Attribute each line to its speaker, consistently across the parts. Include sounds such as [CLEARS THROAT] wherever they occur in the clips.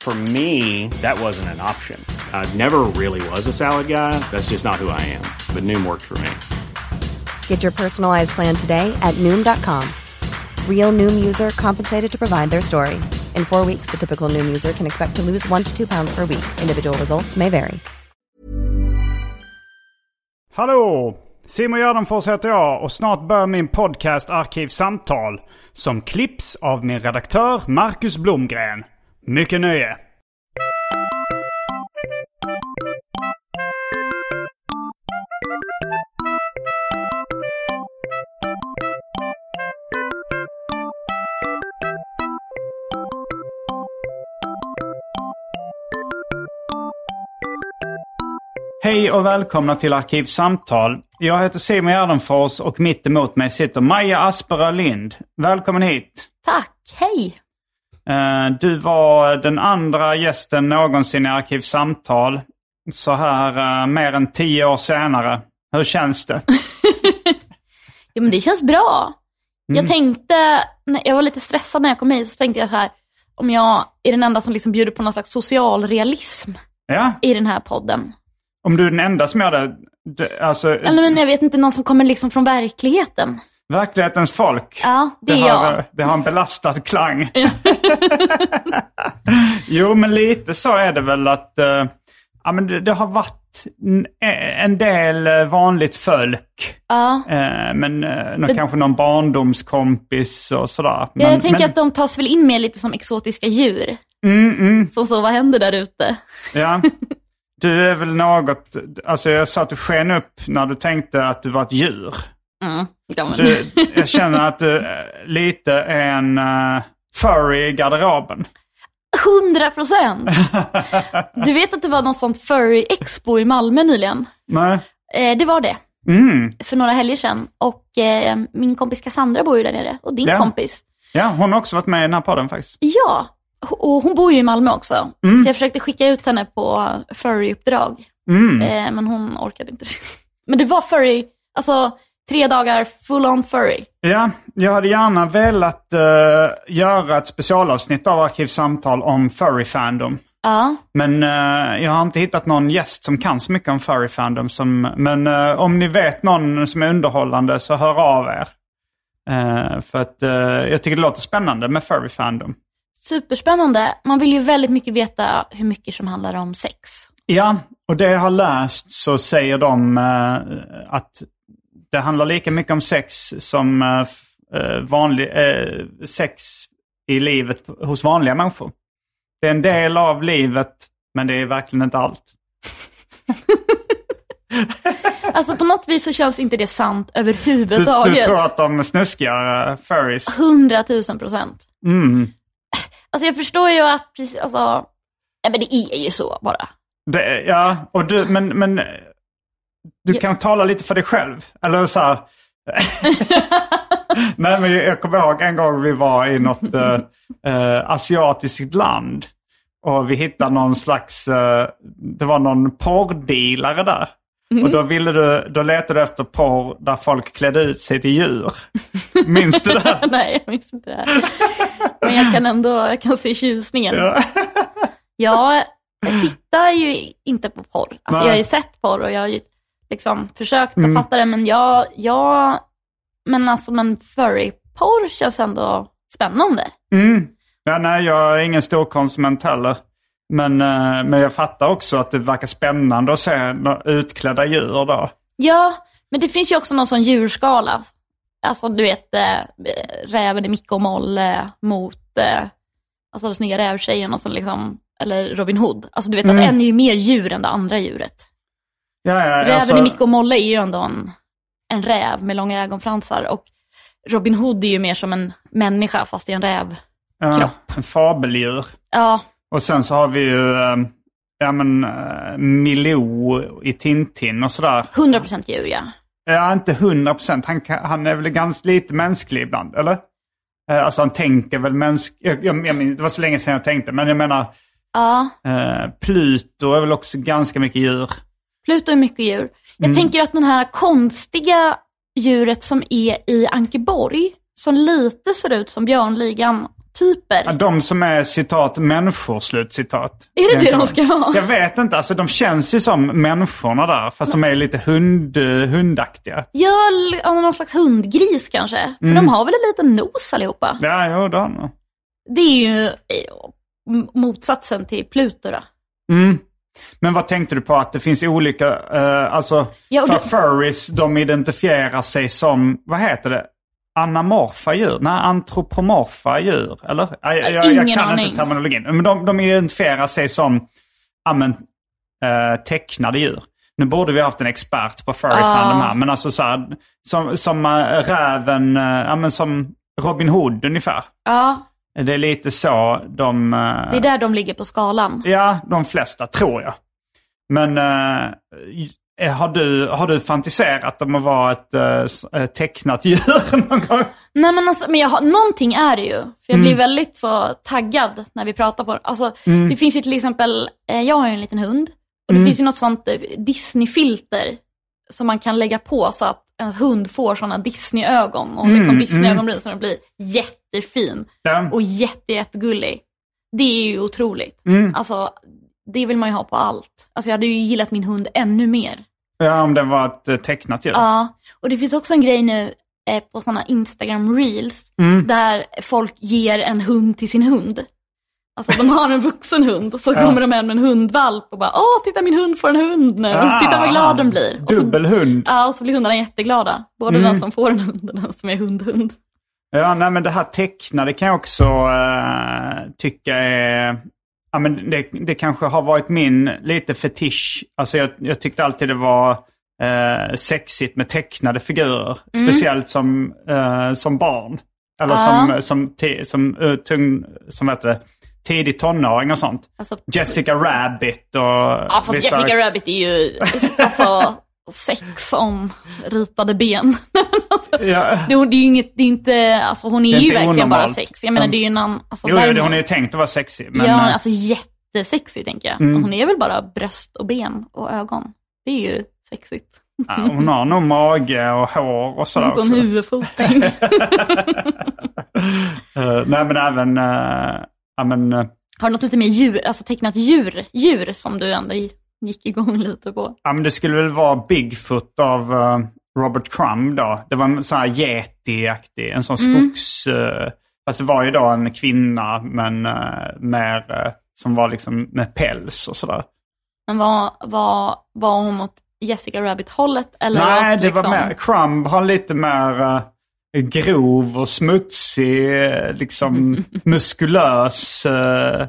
Speaker 1: For me, that wasn't an option. I never really was a salad guy. That's just not who I am. But Noom worked for me.
Speaker 2: Get your personalized plan today at Noom.com. Real Noom user compensated to provide their story. In four weeks, the typical Noom user can expect to lose one to two pounds per week. Individual results may vary.
Speaker 3: Hallå! Simon Gärdenfors heter jag och snart börjar min podcast Arkivsamtal som klipps av min redaktör Marcus Blomgren. Mycket nöje! Hej och välkomna till Arkivsamtal. Jag heter Simon Gärdenfors och mitt emot mig sitter Maja Asperö Lind. Välkommen hit!
Speaker 4: Tack, hej!
Speaker 3: Eh, Du var den andra gästen någonsin i Arkivsamtal. Så här eh, mer än tio år senare. Hur känns det?
Speaker 4: Jo men det känns bra.
Speaker 3: Mm.
Speaker 4: Jag tänkte, när jag var lite stressad när jag kom hit, så tänkte jag så här, om jag är den enda som liksom bjuder på någon slags social realism
Speaker 3: Ja,
Speaker 4: i den här podden.
Speaker 3: om du är den enda som gör det. det alltså,
Speaker 4: Eller men jag vet inte, någon som kommer liksom från verkligheten.
Speaker 3: verklighetens folk.
Speaker 4: Ja, det är
Speaker 3: har,
Speaker 4: jag.
Speaker 3: eh, det har en belastad
Speaker 4: [LAUGHS]
Speaker 3: klang. [LAUGHS] jo, men lite så är det väl att eh, ja, men det, det har varit en, en del eh, vanligt folk.
Speaker 4: Ja.
Speaker 3: Eh, men eh, nå- kanske någon barndomskompis och sådär. Men,
Speaker 4: Jag tänker
Speaker 3: men,
Speaker 4: att de tas väl in mer lite som exotiska djur.
Speaker 3: mm, mm,
Speaker 4: Som så, vad händer där ute? [LAUGHS]
Speaker 3: ja. Du är väl något, alltså jag sa att du sken upp när du tänkte att du var ett djur.
Speaker 4: Mm, ja, men.
Speaker 3: Du, jag känner att du eh, lite är en eh, furry i garderoben. [LAUGHS]
Speaker 4: 100 procent! Du vet att det var någon sånt furry expo i Malmö nyligen?
Speaker 3: Nej?
Speaker 4: Eh, det var det.
Speaker 3: Mm.
Speaker 4: för några helger sedan och eh, min kompis Cassandra bor ju där nere och din
Speaker 3: Ja.
Speaker 4: kompis.
Speaker 3: Ja, hon har också varit med i den här podden faktiskt.
Speaker 4: Ja, ho- och hon bor ju i Malmö också. Så jag försökte skicka ut henne på furry-uppdrag,
Speaker 3: Mm.
Speaker 4: eh, men hon orkade inte. [LAUGHS] men det var furry, alltså tre dagar full on furry.
Speaker 3: Ja, jag hade gärna velat eh, göra ett specialavsnitt av Arkivsamtal om furry fandom.
Speaker 4: Ja,
Speaker 3: Men eh, jag har inte hittat någon gäst som kan så mycket om furry fandom. Som, men eh, om ni vet någon som är underhållande så hör av er. Eh, för att eh, jag tycker det låter spännande med furry fandom.
Speaker 4: superspännande. Man vill ju väldigt mycket veta hur mycket som handlar om sex.
Speaker 3: Ja, och det jag har läst så säger de eh, att det handlar lika mycket om sex som eh, f- eh, vanlig, eh, sex i livet hos vanliga människor. Det är en del av livet, men det är verkligen inte allt.
Speaker 4: Alltså på något vis så känns inte det sant
Speaker 3: Du, du
Speaker 4: överhuvudtaget.
Speaker 3: tror att de är snuskigare furries?
Speaker 4: 100 000 procent.
Speaker 3: Mm.
Speaker 4: Alltså jag förstår ju att, precis, alltså, nej men det är ju så [LAUGHS] bara.
Speaker 3: Det, ja, och du, men, men eh, du
Speaker 4: Ja.
Speaker 3: kan tala lite för dig själv. Eller så här. Nej, men jag- jag kommer ihåg en gång vi var i något eh, eh, asiatiskt land. Och vi hittade någon slags, eh, det var någon porrdealare där. Och då, ville du, då letade du efter porr där folk klädde ut sig till djur. Minns du det?
Speaker 4: Nej, jag minns inte det här. Men jag kan ändå jag kan se tjusningen. [LAUGHS]
Speaker 3: Ja.
Speaker 4: Jag tittar ju inte på porr. Alltså,
Speaker 3: Nej.
Speaker 4: jag har ju sett porr och jag har ju liksom försökt att fatta det, men jag, jag men alltså men furry-porr känns ändå spännande.
Speaker 3: Mm. Ja, nej, jag är ingen stor konsument heller. Men, eh, men jag fattar också att det verkar spännande att se nå- utklädda djur då.
Speaker 4: Ja, men det finns ju också någon sån djurskala. Alltså du vet, eh, räven i Micke och Molle mot eh, alltså, den snygga rävtjejen och sen liksom, eller Robin Hood. Alltså du vet att en är ju mer djur än det andra djuret.
Speaker 3: Ja, ja,
Speaker 4: Räven
Speaker 3: alltså-
Speaker 4: i Micke och Molle är ju ändå en, en räv med långa ögonfransar och Robin Hood är ju mer som en människa fast i en räv.
Speaker 3: ja,
Speaker 4: kropp.
Speaker 3: En fabeldjur.
Speaker 4: Ja,
Speaker 3: Och sen så har vi ju eh, ja, men, eh, Milou i Tintin och sådär.
Speaker 4: 100% djur ja.
Speaker 3: Ja, inte hundra procent. Han, kan- han är väl ganska lite mänsklig ibland, eller? Eh, Alltså han tänker väl mänskligt. Jag, jag, jag minns, det var så länge sedan jag tänkte. Men jag menar,
Speaker 4: Ja,
Speaker 3: eh, Pluto är väl också ganska mycket djur.
Speaker 4: Pluto är mycket djur. Jag tänker att den här konstiga djuret som är i Ankeborg, som lite ser ut som Björnligan-typer.
Speaker 3: Ja, De som är citat människor, slutcitat.
Speaker 4: Är det det
Speaker 3: Egentligen.
Speaker 4: de ska vara?
Speaker 3: Jag vet inte, alltså de känns ju som människorna där. Fast de är lite hund, eh, hundaktiga.
Speaker 4: Ja, l- ja, någon slags hundgris kanske. För de har väl en liten nos allihopa?
Speaker 3: Ja, jo, det har de.
Speaker 4: Det är ju eh, m- motsatsen till Pluto då.
Speaker 3: Mm. Men vad tänkte du på att det finns olika, eh, alltså
Speaker 4: Ja, och
Speaker 3: för
Speaker 4: det-
Speaker 3: furries, de identifierar sig som, vad heter det, anamorfa djur? Nej, antropomorfa djur, eller? Jag, jag, jag,
Speaker 4: ingen
Speaker 3: kan
Speaker 4: aning.
Speaker 3: inte terminologin. Men de, de identifierar sig som, ja men, eh, tecknade djur. Nu borde vi haft en expert på furry fandom här, men alltså så här, som, som eh, räven, eh, ja men som Robin Hood ungefär.
Speaker 4: Ja,
Speaker 3: Det är lite så de... eh,
Speaker 4: det är där de ligger på skalan.
Speaker 3: Ja, de flesta tror jag. Men eh, har, du, har du fantiserat om att vara ett eh, s- eh, tecknat djur [LAUGHS] någon gång?
Speaker 4: Nej men alltså, men jag har, någonting är det ju. För jag blir väldigt så taggad när vi pratar på alltså, Det finns ju till exempel, eh, jag har ju en liten hund. Och det finns ju något sånt eh, Disney-filter som man kan lägga på så att ens hund får sådana Disney-ögon. Och liksom Disney-ögonbryn så den blir jättefin
Speaker 3: Ja.
Speaker 4: och jätte, jättegullig. Det är ju otroligt.
Speaker 3: Mm.
Speaker 4: Alltså, det vill man ju ha på allt. Alltså jag hade ju gillat min hund ännu mer.
Speaker 3: ja, om det var ett eh, tecknat djur.
Speaker 4: Ja, och det finns också en grej nu eh, på sådana Instagram reels
Speaker 3: Mm.
Speaker 4: där folk ger en hund till sin hund. Alltså de har en vuxen hund så kommer de hem med en hundvalp och bara åh titta min hund får en hund nu,
Speaker 3: Ah,
Speaker 4: titta vad glad den blir. Och så,
Speaker 3: Dubbelhund.
Speaker 4: ja, och så blir hundarna jätteglada, både
Speaker 3: Mm.
Speaker 4: den som får en hund och den som är hundhund.
Speaker 3: Ja, nej, men det här tecknade kan jag också eh, tycka är... Ja, men det, det kanske har varit min lite fetisch. Alltså jag, jag tyckte alltid det var eh, sexigt med tecknade figurer.
Speaker 4: Mm.
Speaker 3: Speciellt som, eh, som barn. Eller som, som, ti- som, eh, tung, som vad heter det, tidig tonåring och sånt.
Speaker 4: Alltså,
Speaker 3: Jessica Rabbit och... Ja,
Speaker 4: ja, fast Jessica Rabbit är ju alltså, sex om ritade ben.
Speaker 3: Ja.
Speaker 4: det, det är ju inget, det är inte, alltså, hon är,
Speaker 3: Det är
Speaker 4: ju
Speaker 3: inte
Speaker 4: verkligen bara
Speaker 3: onormalt.
Speaker 4: sex. Jag menar
Speaker 3: Mm.
Speaker 4: det är ju en annan... Alltså,
Speaker 3: Jo, jo, det-
Speaker 4: däremot-
Speaker 3: hon är ju tänkt att vara sexig. Men,
Speaker 4: ja,
Speaker 3: eh, Mm.
Speaker 4: alltså jättesexig tänker jag. Hon är väl bara bröst och ben och ögon. Det är ju sexigt.
Speaker 3: ja, hon har nog mage och hår och sådär
Speaker 4: En
Speaker 3: också.
Speaker 4: sån
Speaker 3: [LAUGHS]
Speaker 4: huvudfoting.
Speaker 3: Eh, nej men även, eh, ja men, eh,
Speaker 4: Har du något lite mer djur, alltså tecknat djur, djur som du ändå gick igång [LAUGHS] lite på?
Speaker 3: ja, men det skulle väl vara Bigfoot av eh, Robert Crumb då. Det var en sån här yeti-aktig, en sån skogs... eh, fast det var ju då en kvinna men eh, mer eh, som var liksom med päls och sådär.
Speaker 4: Men var, var, var hon åt Jessica Rabbit-hållet? Eller
Speaker 3: Nej,
Speaker 4: åt,
Speaker 3: det var
Speaker 4: liksom-
Speaker 3: mer, Crumb har lite mer eh, grov och smutsig, eh,
Speaker 4: [LAUGHS]
Speaker 3: liksom muskulös. eh,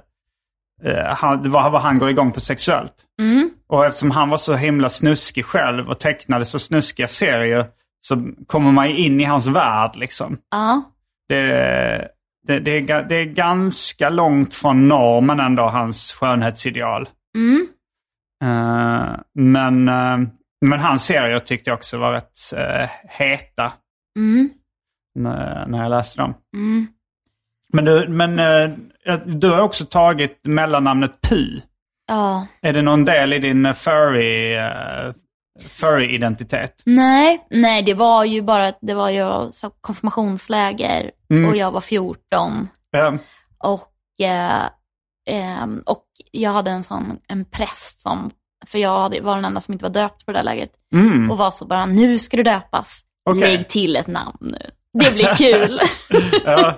Speaker 3: eh, han, det var vad han går igång på sexuellt.
Speaker 4: Mm.
Speaker 3: Och eftersom han var så himla snuskig själv och tecknade så snuskiga serier så kommer man ju in i hans värld liksom.
Speaker 4: Ja,
Speaker 3: Det, det, det, är, ga- det är ganska långt från normen ändå, hans skönhetsideal. Eh, men, eh, men hans serier tyckte jag också var rätt eh, heta när, när jag läste dem. Men, du, men eh, du har också tagit mellannamnet Pi.
Speaker 4: ja.
Speaker 3: Är det någon del i din eh, furry, eh, furry-identitet?
Speaker 4: Nej, nej det var ju bara att det var ju så konfirmationsläger
Speaker 3: Mm.
Speaker 4: och jag var 14.
Speaker 3: Eh,
Speaker 4: Och, eh, ehm, och jag hade en sån en präst som, för jag hade, var den enda som inte var döpt på det där lägret. Och var så bara, nu ska du döpas.
Speaker 3: mm, Okej.
Speaker 4: Lägg till ett namn nu. Det blir kul.
Speaker 3: [LAUGHS] ja.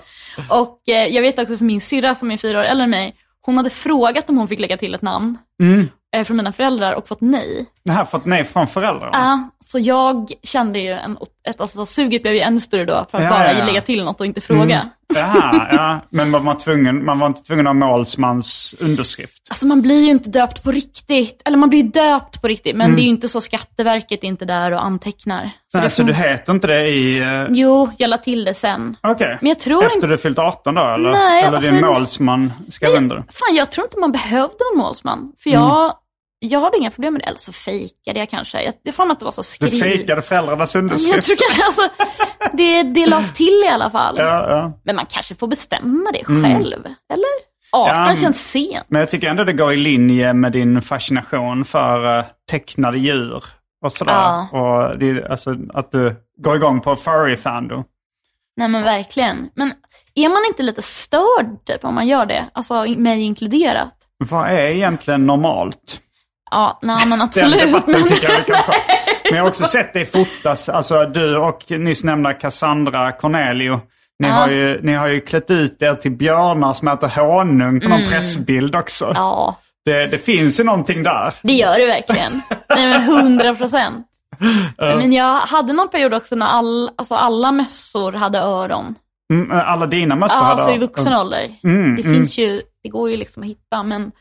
Speaker 4: och eh, jag vet också för min syrra som är fyra år äldre än mig, hon hade frågat om hon fick lägga till ett namn
Speaker 3: Mm.
Speaker 4: eh, från mina föräldrar och fått nej.
Speaker 3: Det här fått nej från föräldrarna?
Speaker 4: Ja, så jag kände ju, en, ett, alltså, suget blev ju ännu större då för att
Speaker 3: Ja,
Speaker 4: bara
Speaker 3: ja, Mm. ja.
Speaker 4: lägga till något och inte fråga.
Speaker 3: Jaha, ja. Men var man, tvungen, man var inte tvungen att ha målsmans underskrift?
Speaker 4: Alltså man blir ju inte döpt på riktigt. Eller man blir ju döpt på riktigt,
Speaker 3: Mm.
Speaker 4: men det är ju inte så Skatteverket är inte där och antecknar. Så
Speaker 3: Nej,
Speaker 4: det
Speaker 3: så du heter inte det i... eh,
Speaker 4: Jo, jag la till det sen.
Speaker 3: Okej.
Speaker 4: Men jag tror
Speaker 3: Efter
Speaker 4: inte-
Speaker 3: du fyllt 18 då eller?
Speaker 4: Nej,
Speaker 3: eller din
Speaker 4: alltså-
Speaker 3: målsman skrev under det?
Speaker 4: Nej, fan, jag tror inte man behövde en målsman. För jag,
Speaker 3: Mm.
Speaker 4: jag hade inga problem med det. Eller så fejkade jag kanske. Jag, jag fan att det var så
Speaker 3: Du
Speaker 4: skriv.
Speaker 3: fejkade föräldrarnas
Speaker 4: [LAUGHS] Jag
Speaker 3: underskrift?
Speaker 4: tror kanske, alltså, det, det lades till i alla fall.
Speaker 3: Ja, ja.
Speaker 4: Men man kanske får bestämma det själv, eller? 18
Speaker 3: Ja, men-
Speaker 4: känns sent.
Speaker 3: Men jag tycker ändå det går i linje med din fascination för eh, tecknade djur och sådär.
Speaker 4: Ja.
Speaker 3: Och det, är- alltså, att du går igång på furry fandom.
Speaker 4: Nej men verkligen. Men är man inte lite störd typ, om man gör det? Alltså in- mig inkluderat.
Speaker 3: Vad är egentligen normalt?
Speaker 4: Ja, nej men
Speaker 3: Den
Speaker 4: absolut.
Speaker 3: debatten
Speaker 4: Men,
Speaker 3: tycker jag vi kan ta. Men jag har
Speaker 4: [LAUGHS]
Speaker 3: också sett dig fotas, alltså du och nyss nämnda Cassandra Cornelio. Ni,
Speaker 4: Ja.
Speaker 3: har ju, ni har ju klätt ut er till björnar som äter honung på någon pressbild också.
Speaker 4: [LAUGHS] Mm. ja,
Speaker 3: Det, det finns ju någonting där.
Speaker 4: det gör det verkligen. Nej men 100 procent. Men jag hade någon period också när all, alltså alla mössor hade öron.
Speaker 3: Mm, Alla dina mössor
Speaker 4: Ja, alltså
Speaker 3: hade-
Speaker 4: i vuxen ålder.
Speaker 3: Mm,
Speaker 4: det
Speaker 3: mm.
Speaker 4: finns ju, det går ju liksom att hitta. Men,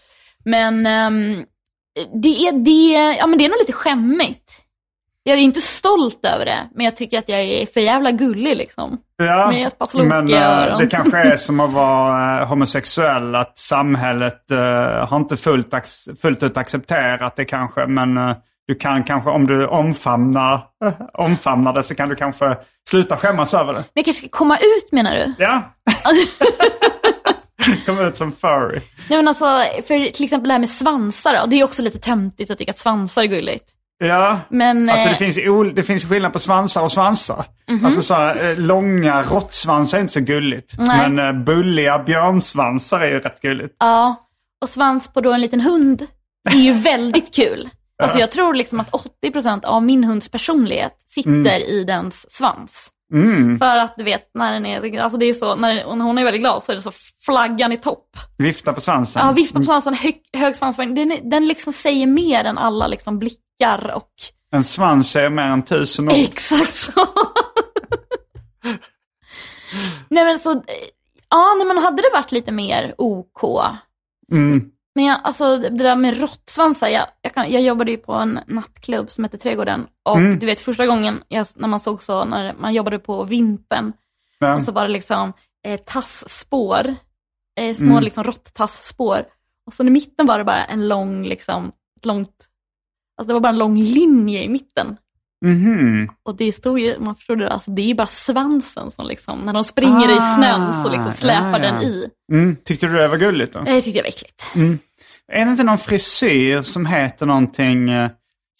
Speaker 4: men ehm, det, är, det, är- ja, men det är nog lite skämmigt. Jag är inte stolt över det, men jag tycker att jag är för jävla gullig liksom.
Speaker 3: Ja,
Speaker 4: Med ett par slokiga
Speaker 3: men eh,
Speaker 4: öron.
Speaker 3: det kanske är som att vara eh, homosexuell, att samhället eh, har inte fullt, ac- fullt ut accepterat det kanske. Men eh, du kan kanske, om du omfamnar, [LAUGHS] omfamnar det så kan du kanske sluta skämmas över det.
Speaker 4: Men jag kanske ska komma ut menar du?
Speaker 3: Ja. [LAUGHS] Kom ut som furry.
Speaker 4: Nej men alltså, för till exempel det här med svansar då, det är också lite töntigt att tycka att svansar är gulligt.
Speaker 3: Ja.
Speaker 4: Men,
Speaker 3: Alltså det
Speaker 4: eh, Mhm.
Speaker 3: finns, ol- det finns skillnad på svansar och svansar. Alltså så här, eh, långa råttsvansar är inte så gulligt.
Speaker 4: Nej.
Speaker 3: Men eh, bulliga björnsvansar är ju rätt gulligt.
Speaker 4: Ja, och svans på då en liten hund
Speaker 3: [LAUGHS]
Speaker 4: är ju väldigt kul. Alltså jag tror liksom att 80% av min hunds personlighet sitter
Speaker 3: Mm.
Speaker 4: i dens svans. För att du vet, när den är, alltså det är så, när och när hon är väldigt glad så är det så flaggan i topp.
Speaker 3: Vifta på svansen.
Speaker 4: Ja, viftar på svansen, hög, hög svansföring. Den, är- den liksom säger mer än alla liksom blickar och
Speaker 3: En svans är mer än tusen
Speaker 4: Eh.
Speaker 3: år.
Speaker 4: [LAUGHS] Exakt så. nej men så, eh, ja nej, men hade det varit lite mer OK. Men jag, alltså det där med råttsvansar, jag, jag, kan, jag jobbade ju på en nattklubb som hette Trädgården och du vet första gången jag, när man såg så, när man jobbade på vintern
Speaker 3: Ja.
Speaker 4: och så var det liksom eh, tassspår, eh, små liksom råtttassspår och sen i mitten var det bara en lång liksom, ett långt, alltså det var bara en lång linje i mitten.
Speaker 3: Mhm.
Speaker 4: Och det stod ju, man förstod det, alltså det är ju bara svansen som liksom, när de springer i snön så liksom släpar
Speaker 3: Ah, ja, ja.
Speaker 4: den i.
Speaker 3: Mm. Tyckte du det var gulligt då?
Speaker 4: Nej, Det tyckte jag var äckligt.
Speaker 3: Är det inte någon frisyr som heter någonting eh,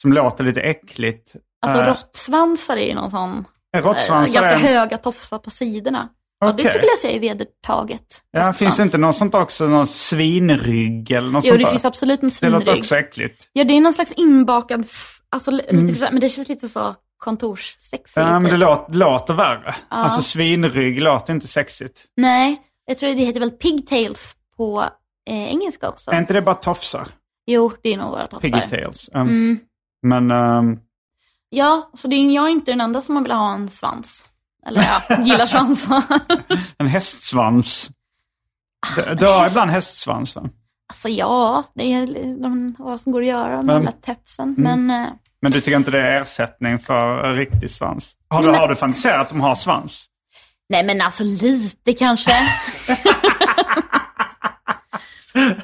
Speaker 3: som låter lite äckligt?
Speaker 4: Alltså
Speaker 3: Eh,
Speaker 4: råttsvansar är ju någon sån,
Speaker 3: en
Speaker 4: eh,
Speaker 3: Råttsvansar
Speaker 4: ganska
Speaker 3: är... en-
Speaker 4: höga tofsar på sidorna. Ja, det
Speaker 3: Okej.
Speaker 4: skulle jag säga är vedertaget.
Speaker 3: Ja, finns det
Speaker 4: Råttsvans.
Speaker 3: inte något sånt också? Någon svinrygg eller något
Speaker 4: Jo,
Speaker 3: sånt
Speaker 4: det
Speaker 3: där?
Speaker 4: finns absolut en
Speaker 3: Det låter
Speaker 4: svinrygg.
Speaker 3: också äckligt.
Speaker 4: Ja, det är någon slags inbakad, f- alltså li- lite, så här- men det känns lite så kontorssexigt.
Speaker 3: Ja, men
Speaker 4: typ.
Speaker 3: det låter, låter värre. Alltså svinrygg låter inte sexigt.
Speaker 4: Nej, jag tror det heter väl pigtails på eh, engelska också.
Speaker 3: Är inte det bara tofsar?
Speaker 4: Jo, det är nog våra tofsar.
Speaker 3: Pigtails. Um,
Speaker 4: Mm.
Speaker 3: Men ehm,
Speaker 4: Ja, så det är, jag är inte den enda som man vill ha en svans. Eller ja, gillar svansar.
Speaker 3: en hästsvans.
Speaker 4: Ah,
Speaker 3: Du, du har ibland hästsvans va?
Speaker 4: Alltså ja, det är de, vad som går att göra med
Speaker 3: Mm.
Speaker 4: den där töpsen. Men eh,
Speaker 3: Men du tycker inte det är ersättning för en riktig svans? Har du, har du fantiserat att de har svans?
Speaker 4: nej men alltså lite kanske.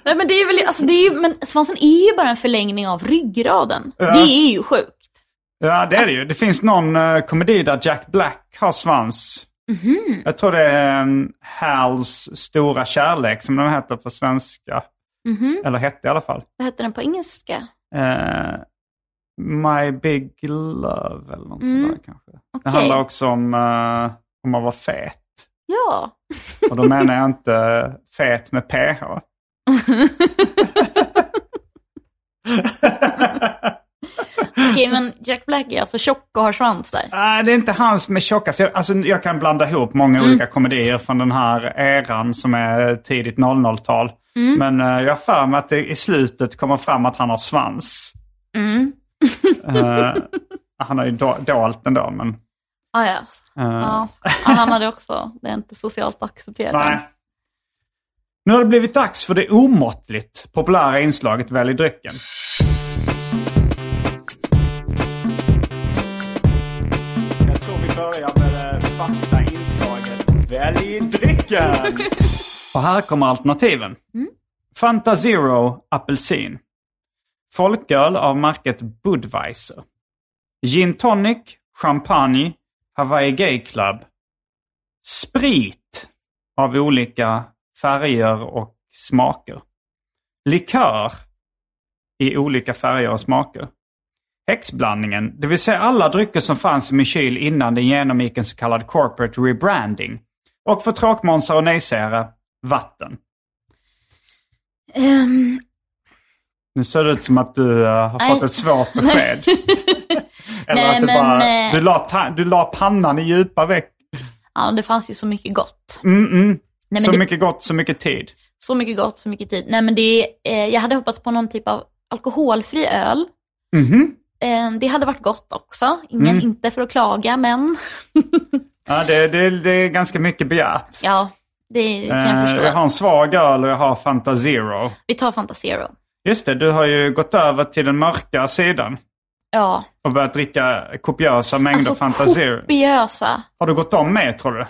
Speaker 4: nej men det är väl, alltså det är ju, men svansen är ju bara en förlängning av ryggraden. Det är ju sjukt.
Speaker 3: Ja, det är det ju. Det finns någon eh, komedi där Jack Black har svans.
Speaker 4: Mhm.
Speaker 3: Jag tror det är um, Hals stora kärlek som den heter på svenska.
Speaker 4: Mhm.
Speaker 3: Eller hette i alla fall.
Speaker 4: Vad heter den på engelska?
Speaker 3: Eh, My Big Love eller något
Speaker 4: Mm.
Speaker 3: sådär kanske. Det
Speaker 4: Okej.
Speaker 3: handlar också om eh, om man var fet.
Speaker 4: Ja.
Speaker 3: Och då menar jag inte fet med PH.
Speaker 4: Okej men Jack Black är alltså tjock och har svans där.
Speaker 3: Nej, det är inte hans med tjockast. Jag, alltså, jag kan blanda ihop många olika komedier från den här eran som är tidigt 00-tal. Men eh, jag har för mig att det i slutet kommer fram att han har svans.
Speaker 4: Mm.
Speaker 3: Eh, han har ju do- dolt den då, men...
Speaker 4: Ah, ja.
Speaker 3: Eh,
Speaker 4: Ja. ja, han hade också, det är inte socialt accepterat.
Speaker 3: Nej. Nu har det blivit dags för det omåttligt populära inslaget Välj drycken. Jag tror vi börjar med det fasta inslaget Välj drycken! [LAUGHS] Och här kommer alternativen. Fanta Zero apelsin. Folköl av märket Budweiser. Gin tonic, champagne, Hawaii Gay Club. Sprit av olika färger och smaker. Likör i olika färger och smaker. Häxblandningen, det vill säga alla drycker som fanns i min kyl innan den genomgick en så kallad corporate rebranding. Och för tråkmånsar och nejsägare, vatten.
Speaker 4: Ehm,
Speaker 3: Nu ser det ut som att du eh, har
Speaker 4: Nej.
Speaker 3: fått ett
Speaker 4: [LAUGHS]
Speaker 3: svårt besked. Eller
Speaker 4: Nej,
Speaker 3: att du
Speaker 4: men,
Speaker 3: bara...
Speaker 4: eh,
Speaker 3: Du la, ta- du la pannan i djupa veck.
Speaker 4: ja, det fanns ju så mycket gott.
Speaker 3: Mm -mm.
Speaker 4: men
Speaker 3: så
Speaker 4: det-
Speaker 3: mycket gott, så mycket tid.
Speaker 4: Så mycket gott, så mycket tid. Nej, men det, eh, jag hade hoppats på någon typ av alkoholfri öl.
Speaker 3: Mhm. Mm.
Speaker 4: Eh, det hade varit gott också. Ingen, Inte för att klaga, men
Speaker 3: Ja, det, det, det är ganska mycket begärt.
Speaker 4: ja, det kan
Speaker 3: Eh,
Speaker 4: jag förstå.
Speaker 3: jag har en svag öl och jag har Fanta Zero.
Speaker 4: Vi tar Fanta Zero.
Speaker 3: Just det, du har ju gått över till den mörka sidan
Speaker 4: Ja,
Speaker 3: och börjat dricka kopiösa mängder
Speaker 4: alltså
Speaker 3: Fanta Zero.
Speaker 4: kopiösa.
Speaker 3: Har du gått om med tror du?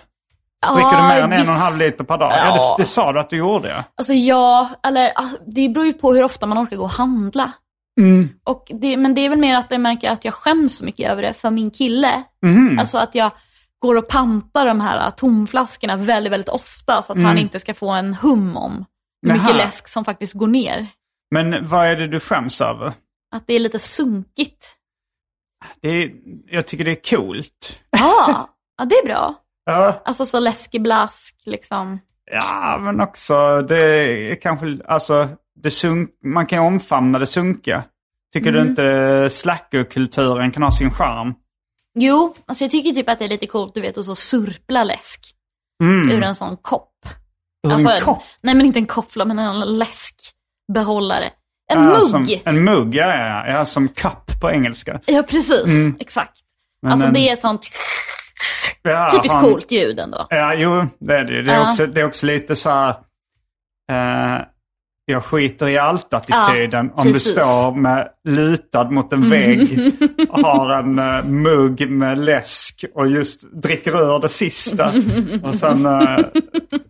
Speaker 4: Ja,
Speaker 3: Dricker du mer än en och en
Speaker 4: visst.
Speaker 3: halv liter per dag? Ja,
Speaker 4: Ja.
Speaker 3: det, det sa du att du gjorde ja.
Speaker 4: Alltså ja, eller ah, det beror ju på hur ofta man orkar gå och handla. Och det, men det är väl mer att jag märker att jag skäms så mycket över det för min kille. Alltså att jag går och pampar de här ah, tomflaskorna väldigt, väldigt ofta så att han inte ska få en hum om hur
Speaker 3: Jaha.
Speaker 4: mycket läsk som faktiskt går ner.
Speaker 3: Men vad är det du skäms över?
Speaker 4: Att det är lite sunkigt.
Speaker 3: Det är, jag tycker det är coolt.
Speaker 4: Ja, [LAUGHS] ja det är bra.
Speaker 3: Ja,
Speaker 4: Alltså så läskig blask liksom.
Speaker 3: ja men också det är kanske, alltså, det sunk, man kan ju omfamna det sunkiga. Tycker
Speaker 4: Mm.
Speaker 3: du inte slackerkulturen kan ha sin charm?
Speaker 4: Jo, alltså jag tycker typ att det är lite coolt du vet att så surpla läsk
Speaker 3: Mm.
Speaker 4: ur en sån kopp.
Speaker 3: Ur
Speaker 4: Alltså,
Speaker 3: en kopp?
Speaker 4: Nej men inte en koppla men en läskbehållare. En
Speaker 3: Ja,
Speaker 4: mugg!
Speaker 3: Som, en mugg, ja, ja, ja. ja. Som cup på engelska.
Speaker 4: Ja precis, exakt.
Speaker 3: Mm. Men
Speaker 4: alltså
Speaker 3: en-
Speaker 4: det är ett sånt
Speaker 3: Ja,
Speaker 4: typiskt
Speaker 3: han-
Speaker 4: coolt ljud ändå.
Speaker 3: Ja, jo, det är det ju. Det är,
Speaker 4: Ja.
Speaker 3: också, det är också lite så här... Eh, jag skiter i allt-attityden.
Speaker 4: Ja,
Speaker 3: om du
Speaker 4: precis.
Speaker 3: står med lutad mot en
Speaker 4: [LAUGHS]
Speaker 3: vägg och har en eh, mugg med läsk och just dricker ur det sista. Och sen eh,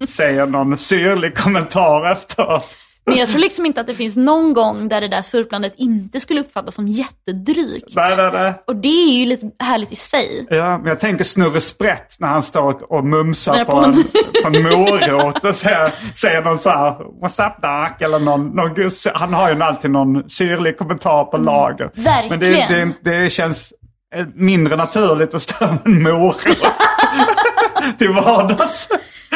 Speaker 3: säger någon syrlig kommentar efteråt.
Speaker 4: Men jag tror liksom inte att det finns någon gång där det där surplandet inte skulle uppfattas som jättedrygt.
Speaker 3: Nej, nej, nej.
Speaker 4: Och det är ju lite härligt i sig.
Speaker 3: Ja, men jag tänker Snurre Sprätt när han står och- och mumsar
Speaker 4: Där
Speaker 3: på
Speaker 4: på
Speaker 3: en,
Speaker 4: en-
Speaker 3: på en morot och säger, säger någon så här “What's up Dark?” eller någon, någon guss. Han har ju alltid någon syrlig kommentar på lager.
Speaker 4: Verkligen.
Speaker 3: Men det, det, det känns eh, mindre naturligt att stå med en morot [LAUGHS] till vardags.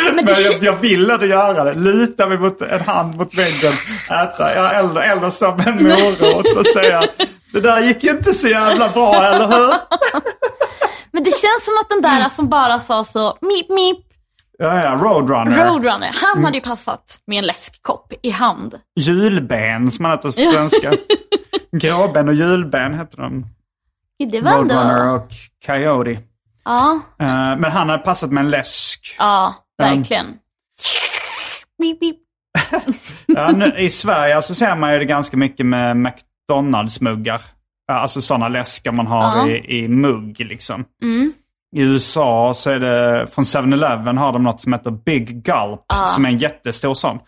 Speaker 3: Men
Speaker 4: Men det
Speaker 3: jag, jag ville det göra det. Luta mig mot en hand mot väggen, äta, ja, eller, eller stå med en morot och säga “Det där gick ju inte så jävla bra, eller hur?”
Speaker 4: Men det känns som att den där som bara sa så mip mip,
Speaker 3: Ja, ja, Roadrunner.
Speaker 4: roadrunner, han
Speaker 3: Mm.
Speaker 4: hade ju passat med en läskkopp i hand.
Speaker 3: Julben som han heter på svenska. Gråben och julben heter de.
Speaker 4: Det var
Speaker 3: Roadrunner
Speaker 4: ändå...
Speaker 3: och Coyote.
Speaker 4: Ja,
Speaker 3: Eh, men han har passat med en läsk.
Speaker 4: ja, verkligen. Mip, mip.
Speaker 3: Ja, nu, I Sverige så ser man ju det ganska mycket med McDonalds-muggar. Ja, Alltså sådana läskar man har
Speaker 4: Ja.
Speaker 3: i, i mugg liksom.
Speaker 4: Mm.
Speaker 3: I USA så är det, från 7-Eleven har de något som heter Big Gulp. Som är en jättestor sån.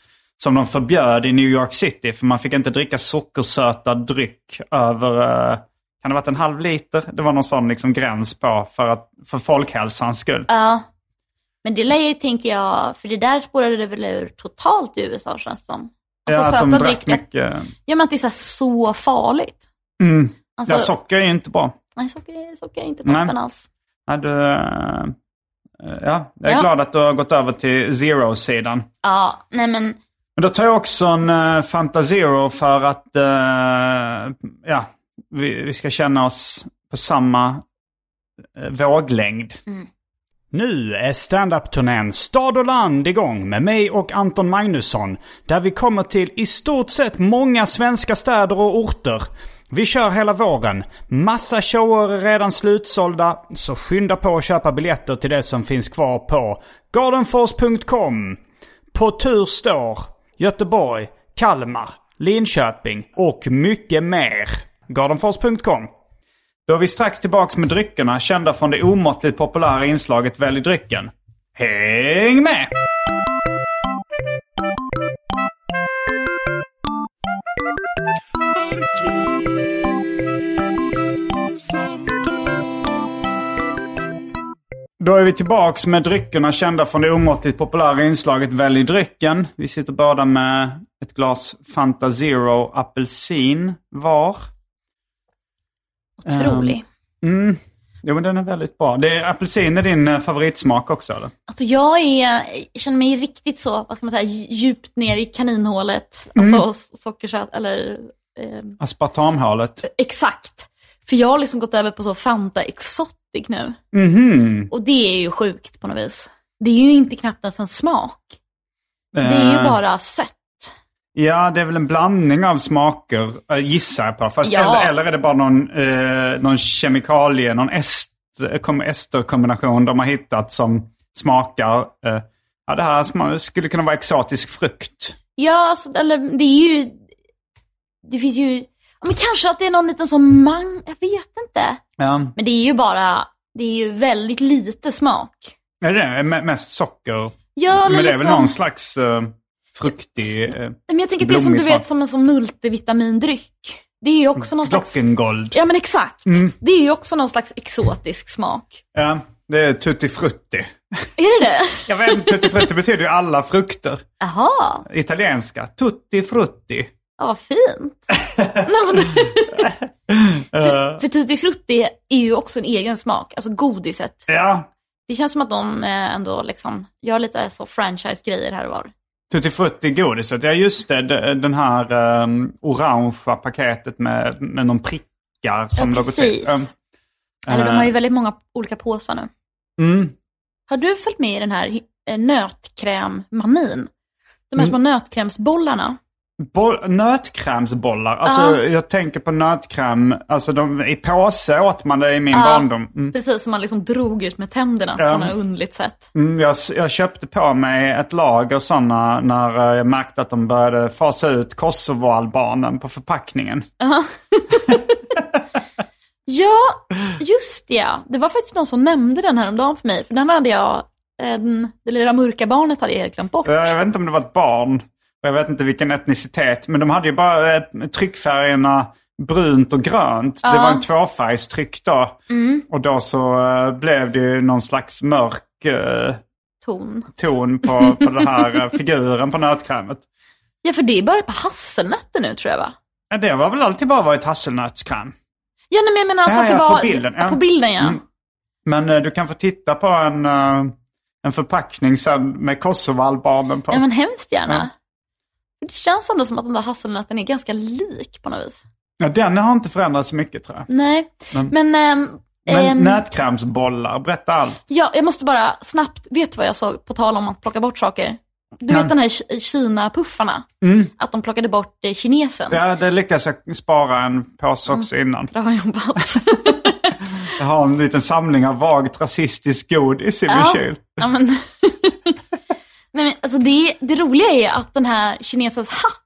Speaker 3: Som de förbjöd i New York City. För man fick inte dricka sockersöta dryck över, eh, kan det ha varit en halv liter? Det var någon sån liksom gräns på för, att, för folkhälsans skull.
Speaker 4: Ja. Men det lär ju, tänker jag, för det där spårade det väl ur totalt i USA känns det som. Alltså
Speaker 3: Ja, att
Speaker 4: söta
Speaker 3: de drack
Speaker 4: drycker-
Speaker 3: mycket.
Speaker 4: Ja men att det är så, här så farligt.
Speaker 3: Mm.
Speaker 4: Alltså,
Speaker 3: ja, socker är ju inte bra.
Speaker 4: nej, socker, socker är inte
Speaker 3: Nej.
Speaker 4: toppen alls.
Speaker 3: Ja, du, eh, ja, jag är
Speaker 4: Ja.
Speaker 3: glad att du har gått över till zero-sidan.
Speaker 4: Ja, nej men
Speaker 3: Men då tar jag också en uh, Fanta Zero för att eh, ja, vi, vi ska känna oss på samma eh, våglängd. Nu är standup-turnén Stad och land igång med mig och Anton Magnusson. Där vi kommer till i stort sett många svenska städer och orter.
Speaker 5: Vi kör hela våren. Massa shower är redan slutsålda, så skynda på att köpa biljetter till det som finns kvar på gardenfors.com. På tur står Göteborg, Kalmar, Linköping och mycket mer. Gardenfors.com.
Speaker 3: Då är vi strax tillbaks med dryckerna kända från det omåttligt populära inslaget Välj drycken. Häng med! Då är vi tillbaks med dryckerna kända från det omåttligt populära inslaget Välj drycken. Vi sitter båda med ett glas Fanta Zero apelsin var.
Speaker 4: Otrolig.
Speaker 3: Ehm. Jo men den är väldigt bra. Det är, apelsin är din eh, favoritsmak också eller?
Speaker 4: Alltså jag är, känner mig riktigt så, vad ska man säga, dj- djupt ner i kaninhålet.
Speaker 3: Mm.
Speaker 4: Alltså so- sockersöt, eller eh,
Speaker 3: Aspartamhålet.
Speaker 4: exakt. För jag har liksom gått över på så Fanta Exotic nu.
Speaker 3: Mhm.
Speaker 4: Och det är ju sjukt på något vis. Det är ju inte knappt ens en smak. Det är
Speaker 3: Eh,
Speaker 4: ju bara sött.
Speaker 3: Ja, det är väl en blandning av smaker, eh, gissar jag på. Fast,
Speaker 4: Ja.
Speaker 3: eller, eller är det bara någon, eh, någon kemikalie, någon est, eh, kom- esterkombination de har hittat som smakar. Eh, ja, det här sma- skulle kunna vara exotisk frukt.
Speaker 4: Ja, alltså, eller det är ju... Det finns ju... Ja, men kanske att det är någon liten sån mang... Jag vet inte.
Speaker 3: Ja,
Speaker 4: Men det är ju bara... Det är ju väldigt lite smak.
Speaker 3: är det det? Me- Mest socker.
Speaker 4: Ja, eller
Speaker 3: Men det är
Speaker 4: liksom...
Speaker 3: väl någon slags eh, fruktig... Eh,
Speaker 4: Men jag tänker att det är som
Speaker 3: Blommig
Speaker 4: du vet
Speaker 3: smak.
Speaker 4: som en sån multivitamindryck. Det är ju också någon slags...
Speaker 3: Glockengold.
Speaker 4: Ja men exakt.
Speaker 3: Mm.
Speaker 4: Det är ju också någon slags exotisk smak.
Speaker 3: Ja, det är tutti frutti.
Speaker 4: Är det det?
Speaker 3: Jag vet inte, tutti frutti betyder ju alla frukter.
Speaker 4: Jaha,
Speaker 3: Italienska, tutti frutti.
Speaker 4: ja, vad [LAUGHS] fint. Nej, men... [LAUGHS] för, för tutti frutti är ju också en egen smak, alltså godiset.
Speaker 3: Ja,
Speaker 4: Det känns som att de eh, ändå liksom gör lite så franchise-grejer här och var.
Speaker 3: Tutti Frutti godiset, ja just det. d- Den här um, orangea paketet med, med någon prickar som
Speaker 4: ja, precis.
Speaker 3: Um,
Speaker 4: Eller de har ju väldigt många olika påsar nu.
Speaker 3: Eh. mm,
Speaker 4: Har du följt med i den här eh, nötkrämmanin? De här små
Speaker 3: Mm.
Speaker 4: nötkrämsbollarna.
Speaker 3: boll, nötkrämsbollar. Alltså
Speaker 4: Ja.
Speaker 3: jag tänker på nötkräm. Alltså de, i påse åt man det i min
Speaker 4: Ja.
Speaker 3: barndom. Mm.
Speaker 4: Precis, som man liksom drog ut med tänderna
Speaker 3: Ja.
Speaker 4: på något underligt sätt.
Speaker 3: Mm, jag, s- jag köpte på mig ett lager sådana när eh, jag märkte att de började fasa ut kosovoalbanen på förpackningen.
Speaker 4: Ja, just det. ja. Det var faktiskt någon som nämnde den här om dagen för mig, för den hade jag, en, det lilla mörka barnet hade jag helt glömt bort.
Speaker 3: Eh, Jag vet inte om det var ett barn. Och jag vet inte vilken etnicitet. Men de hade ju bara eh, tryckfärgerna brunt och grönt. Det var en tvåfärgstryck då.
Speaker 4: Mm.
Speaker 3: Och då så eh, blev det ju någon slags mörk eh,
Speaker 4: Ton.
Speaker 3: ton på, på den
Speaker 4: [LAUGHS]
Speaker 3: här eh, figuren på nötkrämet.
Speaker 4: Ja, för det är bara på hasselnötter nu tror jag va?
Speaker 3: Ja, Det har väl alltid bara varit hasselnötskräm.
Speaker 4: Ja, nej, men jag menar alltså
Speaker 3: Ja,
Speaker 4: att det
Speaker 3: ja, på
Speaker 4: var...
Speaker 3: bilden, ja.
Speaker 4: På bilden ja.
Speaker 3: Mm. Men eh, du kan få titta på en, eh, en förpackning sen med kosovoalbanen på.
Speaker 4: ja men hemskt gärna.
Speaker 3: Ja.
Speaker 4: Det känns ändå som att den där hasselnöten är ganska lik på något vis.
Speaker 3: Ja, den har inte förändrats så mycket tror jag.
Speaker 4: Nej,
Speaker 3: Men-
Speaker 4: men... ehm,
Speaker 3: Men
Speaker 4: ehm,
Speaker 3: nötkrämsbollar, berätta allt.
Speaker 4: Ja, jag måste bara snabbt, vet du vad jag såg på tal om att plocka bort saker? Du
Speaker 3: Nej.
Speaker 4: vet den här Ki- Kina-puffarna?
Speaker 3: Mm.
Speaker 4: Att de plockade bort eh, kinesen.
Speaker 3: Ja, det lyckas jag spara en
Speaker 4: Mm.
Speaker 3: påse också innan.
Speaker 4: Bra jobbat.
Speaker 3: Jag har en liten samling av vagt rasistisk godis i min
Speaker 4: Ja.
Speaker 3: kyl.
Speaker 4: ja, men... [LAUGHS] Nej, men alltså det, det roliga är att den här kinesens hatt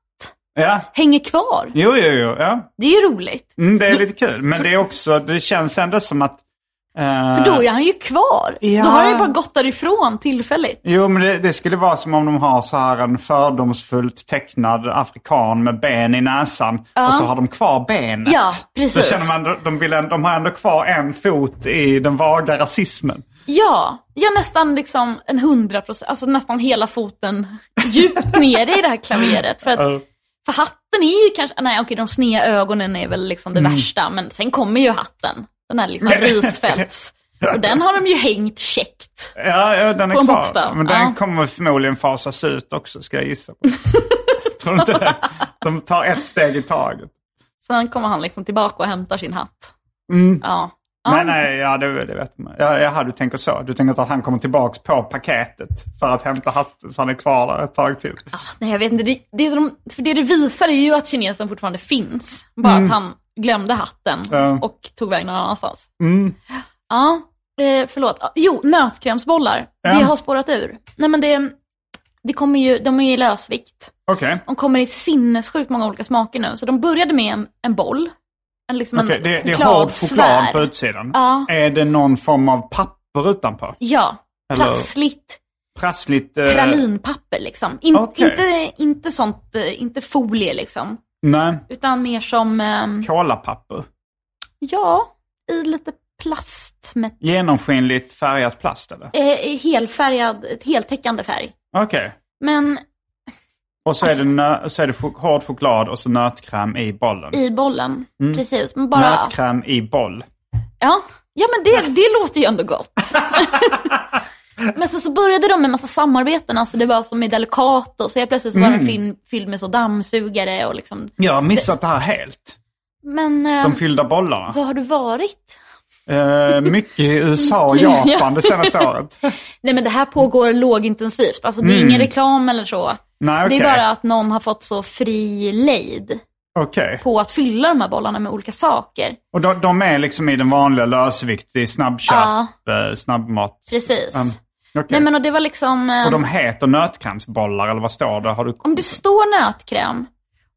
Speaker 3: Ja,
Speaker 4: hänger kvar.
Speaker 3: jo, jo, jo. Ja.
Speaker 4: Det är ju roligt.
Speaker 3: Mm, det är lite kul, men det är också, det känns ändå som att... eh,
Speaker 4: För då är han ju kvar.
Speaker 3: Ja.
Speaker 4: Då har han ju bara gått därifrån tillfälligt.
Speaker 3: Jo, men det, det skulle vara som om de har så här en fördomsfullt tecknad afrikan med ben i näsan och så har de kvar benet.
Speaker 4: Ja,
Speaker 3: Då
Speaker 4: precis.
Speaker 3: känner man, de, de, vill, ändå- de har ändå kvar en fot i den vaga rasismen.
Speaker 4: Ja, ja nästan liksom en hundra procent, alltså nästan hela foten djupt nere i det här klaveret. För, att, för hatten är ju kanske, nej okej de sneda ögonen är väl liksom det värsta, men sen kommer ju hatten. Den här liksom risfälts. Och den har de ju hängt käckt.
Speaker 3: Ja, ja den är
Speaker 4: På en
Speaker 3: kvar.
Speaker 4: bokstav,
Speaker 3: Men den
Speaker 4: ja.
Speaker 3: kommer förmodligen fasas ut också, ska jag gissa på. [LAUGHS] Tror du inte det? De tar ett steg i taget.
Speaker 4: Sen kommer han liksom tillbaka och hämtar sin hatt.
Speaker 3: Mm.
Speaker 4: Ja. Ah,
Speaker 3: Nej,
Speaker 4: ja.
Speaker 3: nej, ja, det, det vet man. Ja, jaha, du tänker så. Du tänker att han kommer tillbaks på paketet för att hämta hatten så han är kvar där ett tag till.
Speaker 4: Nej, jag vet inte. Det, det, de, för det det visar är ju att kinesen fortfarande finns. Bara att han glömde hatten
Speaker 3: Mm. Ja. Mm.
Speaker 4: och tog vägen någon annanstans. Ja, eh, förlåt. Ah, Jo, nötkrämsbollar. Det har spårat ur. Nej men det, det kommer ju, de är ju i lösvikt.
Speaker 3: Okej,
Speaker 4: De kommer i sinnessjukt många olika smaker nu. Så de började med en, en boll. En, liksom
Speaker 3: Okej,
Speaker 4: en
Speaker 3: det, det är hård choklad
Speaker 4: chokladsfär.
Speaker 3: på utsidan.
Speaker 4: Ja.
Speaker 3: Är det någon form av papper utanpå?
Speaker 4: Ja,
Speaker 3: Eller-
Speaker 4: prassligt
Speaker 3: Prassligt? eh,
Speaker 4: pralinpapper liksom. In,
Speaker 3: Okej.
Speaker 4: inte, inte sånt, eh, inte folie liksom.
Speaker 3: Nej,
Speaker 4: Utan mer som, ehm,
Speaker 3: kolapapper.
Speaker 4: ja, i lite plast med
Speaker 3: Genomskinligt färgat plast eller?
Speaker 4: eh, helfärgad, ett heltäckande färg.
Speaker 3: Okej.
Speaker 4: Men
Speaker 3: Och så är, det nö- så är det chok- hård choklad och så nötkräm i bollen.
Speaker 4: i bollen,
Speaker 3: Mm.
Speaker 4: precis. Men bara,
Speaker 3: Nötkräm i boll.
Speaker 4: ja, ja men det, det låter ju
Speaker 3: [LAUGHS]
Speaker 4: ändå gott. Men sen så började de med massa samarbeten, alltså det var som i Delicato, så jag plötsligt så var
Speaker 3: Mm.
Speaker 4: den film, fylld med så dammsugare och liksom.
Speaker 3: Jag har missat det här helt.
Speaker 4: Men eh,
Speaker 3: De fyllda bollarna.
Speaker 4: var har du varit?
Speaker 3: Eh, mycket i USA
Speaker 4: [LAUGHS]
Speaker 3: och Japan det senaste året.
Speaker 4: Nej men det här pågår lågintensivt, alltså det är ingen reklam eller så.
Speaker 3: Nej, Mm. okej.
Speaker 4: Det är bara att någon har fått så fri lejd
Speaker 3: Okej.
Speaker 4: på att fylla de här bollarna med olika saker.
Speaker 3: Och de, de är liksom i den vanliga lösvikt i snabbköp,
Speaker 4: Ja.
Speaker 3: eh, snabbmat.
Speaker 4: Precis.
Speaker 3: Mm, okej.
Speaker 4: Nej men och det var liksom, eh,
Speaker 3: Och de heter nötkrämsbollar eller vad står det? Har du...
Speaker 4: om det står nötkräm,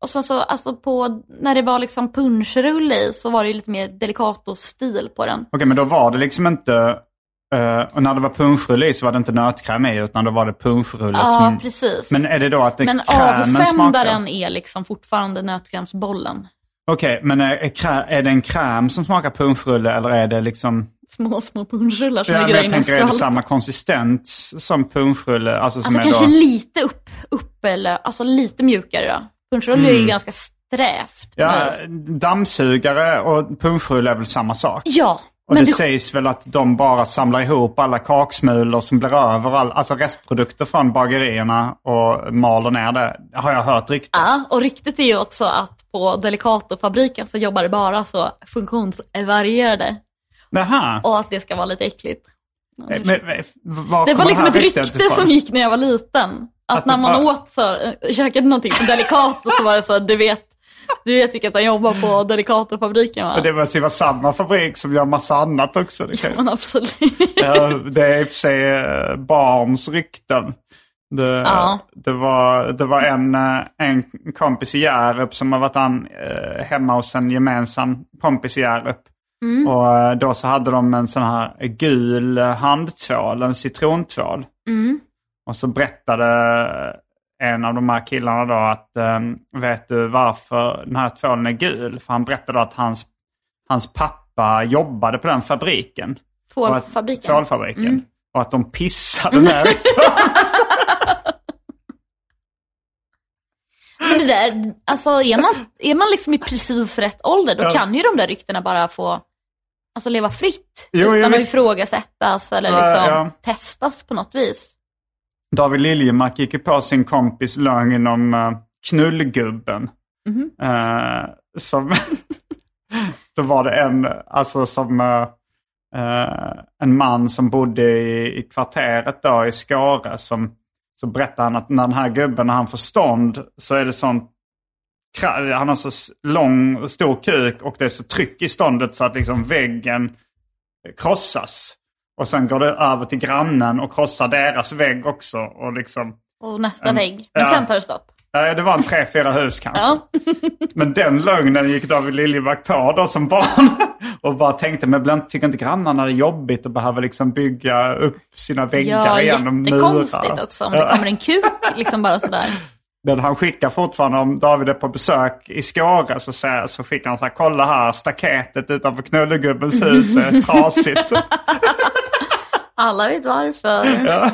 Speaker 4: och sen så alltså på, när det var liksom punschrulle i så var det ju lite mer Delicato-stil på den.
Speaker 3: Okej, men då var det liksom inte... eh, och när det var punschrulle i så var det inte nötkräm i utan då var det punschrulle
Speaker 4: Ja,
Speaker 3: som...
Speaker 4: precis.
Speaker 3: Mm. Men är det då att det
Speaker 4: men
Speaker 3: krämen smakar?
Speaker 4: avsändaren är liksom fortfarande nötkrämsbollen.
Speaker 3: Okej, men är, är, krä, är det en kräm som smakar punschrulle eller är det liksom...
Speaker 4: Små, små punschrullar som
Speaker 3: Ja, men
Speaker 4: ligger där
Speaker 3: jag
Speaker 4: inne i
Speaker 3: tänker, är det
Speaker 4: skal.
Speaker 3: samma konsistens som punschrulle? Alltså, som
Speaker 4: Alltså
Speaker 3: är
Speaker 4: kanske
Speaker 3: då...
Speaker 4: lite upp, upp eller alltså lite mjukare då. Punschrulle är ju ganska strävt.
Speaker 3: Mm. Ja,
Speaker 4: men-
Speaker 3: dammsugare och punschrulle är väl samma sak?
Speaker 4: ja
Speaker 3: Och
Speaker 4: men
Speaker 3: det
Speaker 4: du,
Speaker 3: sägs väl att de bara samlar ihop alla kaksmulor som blir över, all, alltså restprodukter från bagerierna och maler ner det. Har jag hört ryktas.
Speaker 4: ja, och riktigt är ju också att på Delicato-fabriken så jobbar det bara så funktionsvarierade
Speaker 3: Jaha.
Speaker 4: och att det ska vara lite äckligt.
Speaker 3: Eh, Men, men, var
Speaker 4: Det
Speaker 3: kommer
Speaker 4: var liksom
Speaker 3: här
Speaker 4: ett
Speaker 3: ryktet
Speaker 4: rykte
Speaker 3: ifrån?
Speaker 4: som gick när jag var liten. Att,
Speaker 3: Att det
Speaker 4: när man
Speaker 3: var-
Speaker 4: åt så, äh, käkade någonting på Delicato så var det så här, du vet, du vet vilka som jobbar på Delicato-fabriken va?
Speaker 3: Men Det måste ju vara samma fabrik som gör massa annat också. Det, kan,
Speaker 4: Men absolut. [LAUGHS]
Speaker 3: [LAUGHS] Ja, det är i och för sig eh, barns rykten. Det,
Speaker 4: Ja.
Speaker 3: det, var, det var en, eh, en kompis i Hjärup som har varit an, eh, hemma hos en gemensam kompis i Hjärup. Och eh, då så hade de en sån här gul eh, handtvål, en citrontvål. Och så berättade eh, en av de här killarna då att eh, vet du varför den här tvålen är gul? För han berättade att hans, hans pappa jobbade på den fabriken. Och att-
Speaker 4: Tvålfabriken.
Speaker 3: Tvålfabriken. Och att de pissade ner rektorn.
Speaker 4: Men det där, alltså är man, är man liksom i precis rätt ålder då kan ju de där ryktena bara få alltså, leva fritt.
Speaker 3: Jo, jo,
Speaker 4: utan att
Speaker 3: visst.
Speaker 4: ifrågasättas eller
Speaker 3: Ja,
Speaker 4: liksom
Speaker 3: ja.
Speaker 4: testas på något vis.
Speaker 3: David Liljemark gick ju på sin kompis lögn om eh, knullgubben. Eh, som, [LAUGHS] så var det en, alltså som eh, eh, en man som bodde i, i kvarteret då i Skara som så berättade han att när den här gubben när han får stånd så är det sånt kra- han har så s- lång och stor kuk och det är så tryck i ståndet så att liksom väggen krossas. Och sen går det över till grannen och krossar deras vägg också. Och liksom,
Speaker 4: Och nästa vägg.
Speaker 3: ja.
Speaker 4: Men sen tar det stopp.
Speaker 3: eh, det var en tre, fyra hus kanske.
Speaker 4: Ja. [LAUGHS]
Speaker 3: Men den lögnen gick David Liljemark på då som barn. [LAUGHS] Och bara tänkte, men ibland tycker inte grannarna det är jobbigt att behöva liksom bygga upp sina väggar
Speaker 4: Ja,
Speaker 3: igen och
Speaker 4: jättekonstigt
Speaker 3: murar.
Speaker 4: också om det kommer en kuk liksom bara sådär.
Speaker 3: Men han skickar fortfarande, om David är på besök i Skåre så, säger- så skickar han så här, kolla här, staketet utanför knullegubbens hus
Speaker 4: [LAUGHS]
Speaker 3: är trasigt.
Speaker 4: Alla vet varför.
Speaker 3: Mm.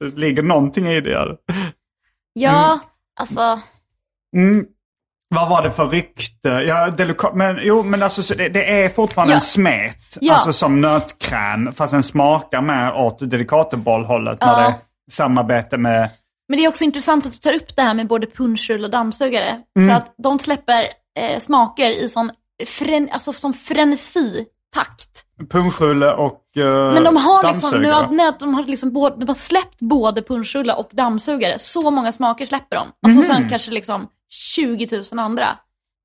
Speaker 3: det ligger någonting i det.
Speaker 4: Ja, alltså,
Speaker 3: Mm. Vad var det för rykte? Ja, deluka- men, jo, men alltså, så det, det är fortfarande
Speaker 4: Ja.
Speaker 3: en smet.
Speaker 4: Ja.
Speaker 3: Alltså som nötkräm. Fast den smakar mer åt delikatobollhållet när
Speaker 4: Ja.
Speaker 3: det är samarbete med...
Speaker 4: men det är också intressant att du tar upp det här med både punschrull och dammsugare.
Speaker 3: Mm.
Speaker 4: För att de släpper eh, smaker i sån fren, alltså, som frenesi-takt.
Speaker 3: Punschrulle och eh,
Speaker 4: Men de har liksom, nu
Speaker 3: dammsugare.
Speaker 4: har, nej, de har liksom både, de har släppt både punschrulle och
Speaker 3: Mhm.
Speaker 4: dammsugare. Så många smaker släpper de. Alltså sen kanske liksom 20 000 andra.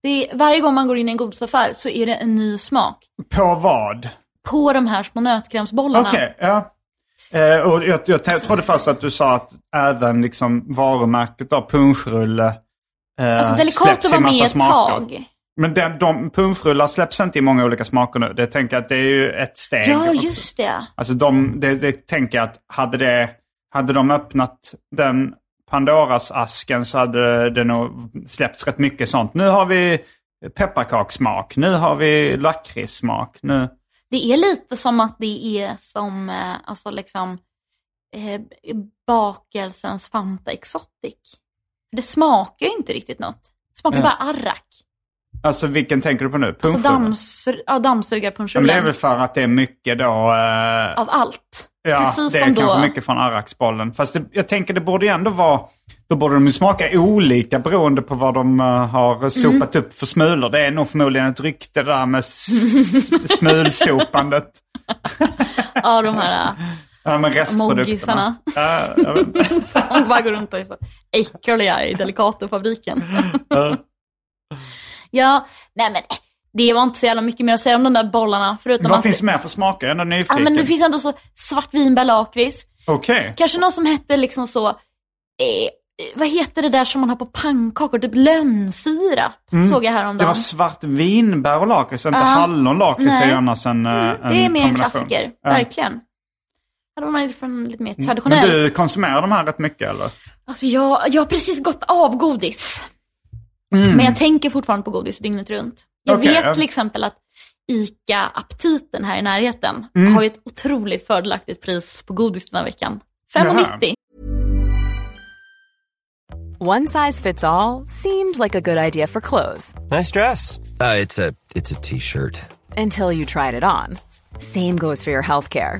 Speaker 4: Det är, varje gång man går in i en godisaffär så är det en ny smak
Speaker 5: På vad?
Speaker 4: på de här små nötkrämsbollarna.
Speaker 3: Okej, ja. Eh, och jag, jag t- trodde först att du sa att även liksom varumärket då, punschrulle, eh,
Speaker 4: Alltså
Speaker 3: släpps
Speaker 4: Delicato
Speaker 3: i
Speaker 4: var med
Speaker 3: massa
Speaker 4: ett
Speaker 3: smaker.
Speaker 4: tag.
Speaker 3: Men den, de punschrullar släpps inte i många olika smaker nu. Det tänker jag att det är ju ett steg.
Speaker 4: Ja,
Speaker 3: också.
Speaker 4: just det.
Speaker 3: Alltså de, det, det tänker jag att hade, det, hade de öppnat den Pandoras asken så hade det nog släppts rätt mycket sånt. Nu har vi pepparkakssmak, nu har vi lakritssmak. Nu...
Speaker 4: Det är lite som att det är som eh, alltså liksom, eh, bakelsens Fanta Exotic. För det smakar ju inte riktigt något. Det smakar
Speaker 3: Ja.
Speaker 4: bara arrak.
Speaker 3: Alltså vilken tänker du på nu?
Speaker 4: Alltså
Speaker 3: Punschrullen?
Speaker 4: dammsur- ja,
Speaker 3: Ja, men det är
Speaker 4: dammsugarpunschrullen
Speaker 3: väl för att det är mycket då... Eh,
Speaker 4: av allt.
Speaker 3: ja,
Speaker 4: Precis
Speaker 3: det är
Speaker 4: som
Speaker 3: kanske
Speaker 4: då.
Speaker 3: mycket från Arraksbollen. Fast det, jag tänker det borde ju ändå vara... Då borde de ju smaka olika beroende på vad de eh, har sopat upp för smulor. Det är nog förmodligen ett rykte där med s- smulsopandet.
Speaker 4: Av de
Speaker 3: [LAUGHS]
Speaker 4: här eh,
Speaker 3: Ja, men restprodukterna.
Speaker 4: moggisarna.
Speaker 3: Ja, jag vet inte.
Speaker 4: [LAUGHS] Man bara går runt och är så äckliga i Delicatofabriken. [LAUGHS] ja, nej men äh, det var inte så jävla mycket mer att säga om de där bollarna. Förutom
Speaker 3: Vad
Speaker 4: att
Speaker 3: finns mer för smaker? Jag är ändå
Speaker 4: ja,
Speaker 3: nyfiken.
Speaker 4: men det finns ändå så svartvinbär lakrits.
Speaker 3: Okej.
Speaker 4: Kanske någon som hette liksom så, eh, vad heter det där som man har på pannkakor? Typ lönnsirap såg jag
Speaker 3: Mm. Det
Speaker 4: häromdagen.
Speaker 3: var svart vinbär och lakrits, inte hallon lakrits är
Speaker 4: Nej. Mm,
Speaker 3: ju annars en, eh, en
Speaker 4: det är mer en
Speaker 3: kombination.
Speaker 4: klassiker,
Speaker 3: Ja. Mm,
Speaker 4: verkligen. Hade man varit från lite mer
Speaker 3: Men
Speaker 4: traditionellt.
Speaker 3: du konsumerar de här rätt mycket eller?
Speaker 4: Alltså jag, jag har precis gått av godis. Men jag tänker fortfarande på godis dygnet runt. Jag
Speaker 3: Mm. Okej,
Speaker 4: vet
Speaker 3: ja.
Speaker 4: till exempel att ICA Aptiten här i närheten
Speaker 3: Mm.
Speaker 4: har ju ett otroligt fördelaktigt pris på godis den här veckan. 5,90.
Speaker 6: One size fits all seemed like a good idea for clothes
Speaker 7: Nice dress.
Speaker 8: Uh, it's a it's a t-shirt.
Speaker 6: until you tried it on. Same goes for your healthcare.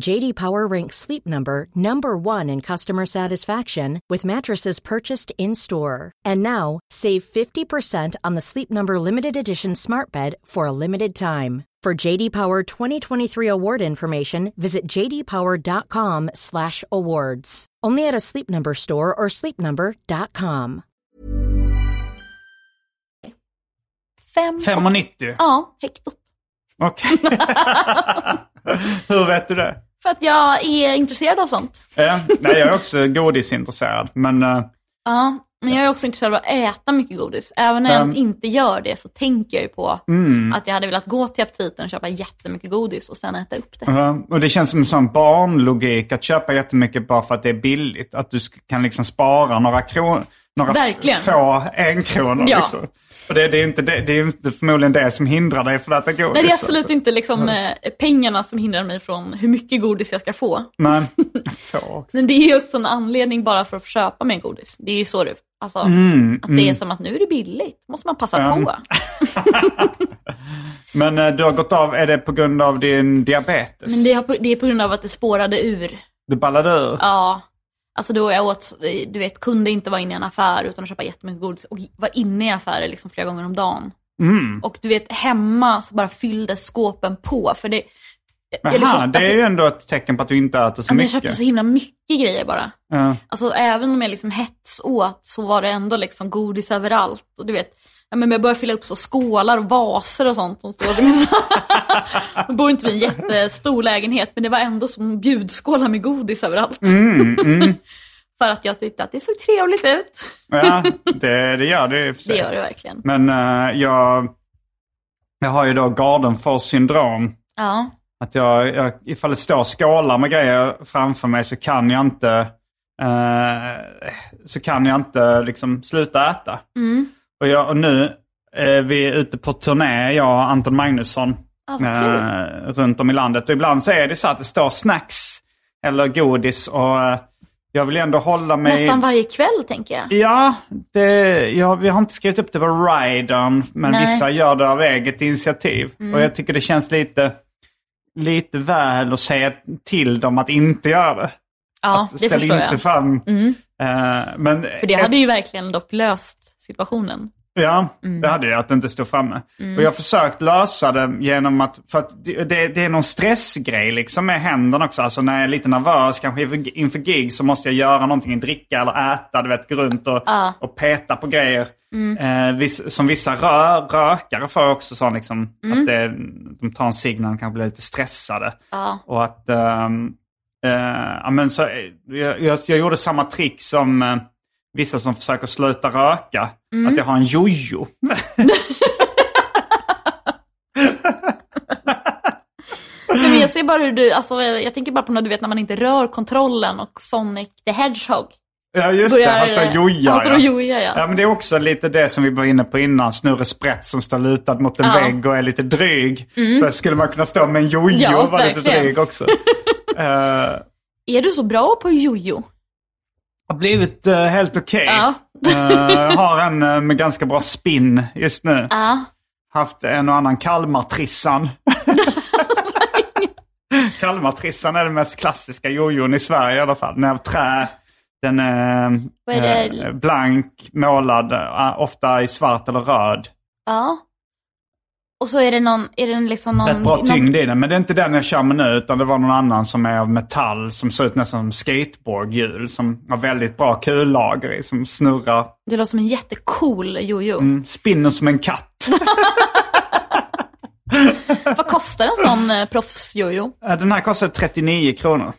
Speaker 9: JD Power ranks Sleep Number number 1 in customer satisfaction with mattresses purchased in-store. And now, save 50% on the Sleep Number limited edition Smart Bed for a limited time. For JD Power 2023 award information, visit jdpower.com/awards. Only at a Sleep Number store or sleepnumber.com.
Speaker 4: 5,
Speaker 3: 5,90?
Speaker 4: Ja, hektot.
Speaker 3: Okej. [LAUGHS] Hur vet du det?
Speaker 4: För att jag är intresserad av sånt.
Speaker 3: Eh, nej, jag är också godisintresserad. Men eh,
Speaker 4: Ja, men jag är också intresserad av att äta mycket godis. Även när jag
Speaker 3: Mm.
Speaker 4: inte gör det så tänker jag ju på att jag hade velat gå till aptiten och köpa jättemycket godis och sen äta upp det.
Speaker 3: eh, och det känns som en sån barnlogik att köpa jättemycket bara för att det är billigt. Att du sk- kan liksom spara några kronor. Några
Speaker 4: Verkligen.
Speaker 3: få en kronor
Speaker 4: Ja.
Speaker 3: liksom. Och det, det, är inte, det, det är ju inte förmodligen det som hindrar dig från att äta godis.
Speaker 4: Nej, det är absolut inte liksom, eh, pengarna som hindrar mig från hur mycket godis jag ska få.
Speaker 3: Men, [LAUGHS] få.
Speaker 4: Men det är ju också en anledning bara för att få köpa mer godis. Det är ju så det, alltså, att det är som att nu är det billigt, måste man passa på.
Speaker 3: men eh, du har gått av, är det på grund av din diabetes?
Speaker 4: Men det, har, det är på grund av att det spårade ur.
Speaker 3: Du ballade ur?
Speaker 4: Ja, alltså då jag åt, du vet, kunde inte vara inne i en affär utan att köpa jättemycket godis och var inne i affärer liksom flera gånger om dagen.
Speaker 3: Mm.
Speaker 4: Och du vet, hemma så bara fylldes skåpen på för det...
Speaker 3: Jaha,
Speaker 4: eller så-
Speaker 3: det
Speaker 4: alltså,
Speaker 3: är ju ändå ett tecken på att du inte äter så
Speaker 4: men jag
Speaker 3: mycket.
Speaker 4: köpte så himla mycket grejer bara.
Speaker 3: Ja.
Speaker 4: Alltså även om jag liksom hets åt så var det ändå liksom godis överallt. Och du vet, Ja, men jag börjar fylla upp så skålar och vaser och sånt som står liksom så. Jag bor inte i en jättestor lägenhet men det var ändå som bjudskålar med godis överallt. [LAUGHS] För att jag tyckte att det såg trevligt ut.
Speaker 3: Ja, det, det gör det i och för
Speaker 4: Det
Speaker 3: sig.
Speaker 4: gör det verkligen.
Speaker 3: Men eh, jag, jag har ju då Gardenfors syndrom.
Speaker 4: Ja,
Speaker 3: Att jag, jag, ifall det står skålar med grejer framför mig så kan jag inte, eh, så kan jag inte liksom sluta äta.
Speaker 4: Mm.
Speaker 3: Och, jag, och nu, eh, vi är ute på turné, jag och Anton Magnusson,
Speaker 4: Ah, vad kul.
Speaker 3: eh, runt om i landet. Och ibland så är det så att det står snacks eller godis och eh, jag vill ändå hålla mig...
Speaker 4: nästan varje kväll tänker jag.
Speaker 3: Ja, det, ja, vi har inte skrivit upp det på Rydon, men
Speaker 4: Nej. Mm.
Speaker 3: vissa gör det av eget initiativ. Och jag tycker det känns lite, lite väl att säga till dem att inte göra det.
Speaker 4: Ja, det
Speaker 3: Ställ
Speaker 4: förstår
Speaker 3: inte
Speaker 4: jag. Mm.
Speaker 3: fram. Eh, men
Speaker 4: För det hade ju verkligen dock löst situationen.
Speaker 3: Ja,
Speaker 4: Mm.
Speaker 3: det hade jag, att det inte stod framme. Och jag har försökt lösa det genom att, för att det, det, det är någon stressgrej liksom med händerna också. Alltså när jag är lite nervös, kanske inför, inför gig, så måste jag göra någonting, dricka eller äta, du vet, gå runt och,
Speaker 4: Ja. Mm.
Speaker 3: och peta på grejer. Eh, viss, som vissa rö, rökare får också sån liksom,
Speaker 4: Mm.
Speaker 3: att det, de tar en cigg när de kanske blir lite stressade.
Speaker 4: Ja.
Speaker 3: Och att, ehm, eh, ja men så, eh, jag, jag, jag gjorde samma trick som eh, vissa som försöker sluta röka.
Speaker 4: Mm.
Speaker 3: Att jag har en jojo.
Speaker 4: Nej, Men jag ser bara hur du, alltså, jag jag tänker bara på när du vet när man inte rör kontrollen och Sonic the Hedgehog.
Speaker 3: ja just det, han står och jojar.
Speaker 4: Han står och
Speaker 3: ja.
Speaker 4: jojar ja.
Speaker 3: Ja, men det är också lite det som vi var inne på innan. Snurre Sprätt som står lutad mot en
Speaker 4: Ja. Mm.
Speaker 3: vägg och är lite dryg. Så skulle man kunna stå med en jojo
Speaker 4: Ja,
Speaker 3: och vara lite
Speaker 4: verkligen.
Speaker 3: dryg också. Eh,
Speaker 4: Är du så bra på jojo?
Speaker 3: har blivit eh, helt okej.
Speaker 4: Ja.
Speaker 3: Eh, har en eh, med ganska bra spinn just nu.
Speaker 4: Ja.
Speaker 3: haft en och annan
Speaker 4: [LAUGHS]
Speaker 3: Kalmartrissan. Kalmartrissan är den mest klassiska jojon i Sverige i alla fall. Den är av trä. Den är,
Speaker 4: Vad är det?
Speaker 3: eh, blank, målad, eh, ofta i svart eller röd.
Speaker 4: ja. Och så är det någon, är det liksom någon...
Speaker 3: Rätt bra
Speaker 4: någon-
Speaker 3: tyngd i den, men det är inte den jag kör med nu utan det var någon annan som är av metall som ser ut nästan som skateboardhjul. Som har väldigt bra kullager i, som snurrar,
Speaker 4: Det låter som en jättecool jojo.
Speaker 3: mm, spinner som en
Speaker 4: [LAUGHS]
Speaker 3: katt.
Speaker 4: Vad kostar en sån eh, proffsjojo?
Speaker 3: Eh, Den här kostar 39
Speaker 4: [LAUGHS]
Speaker 3: kronor.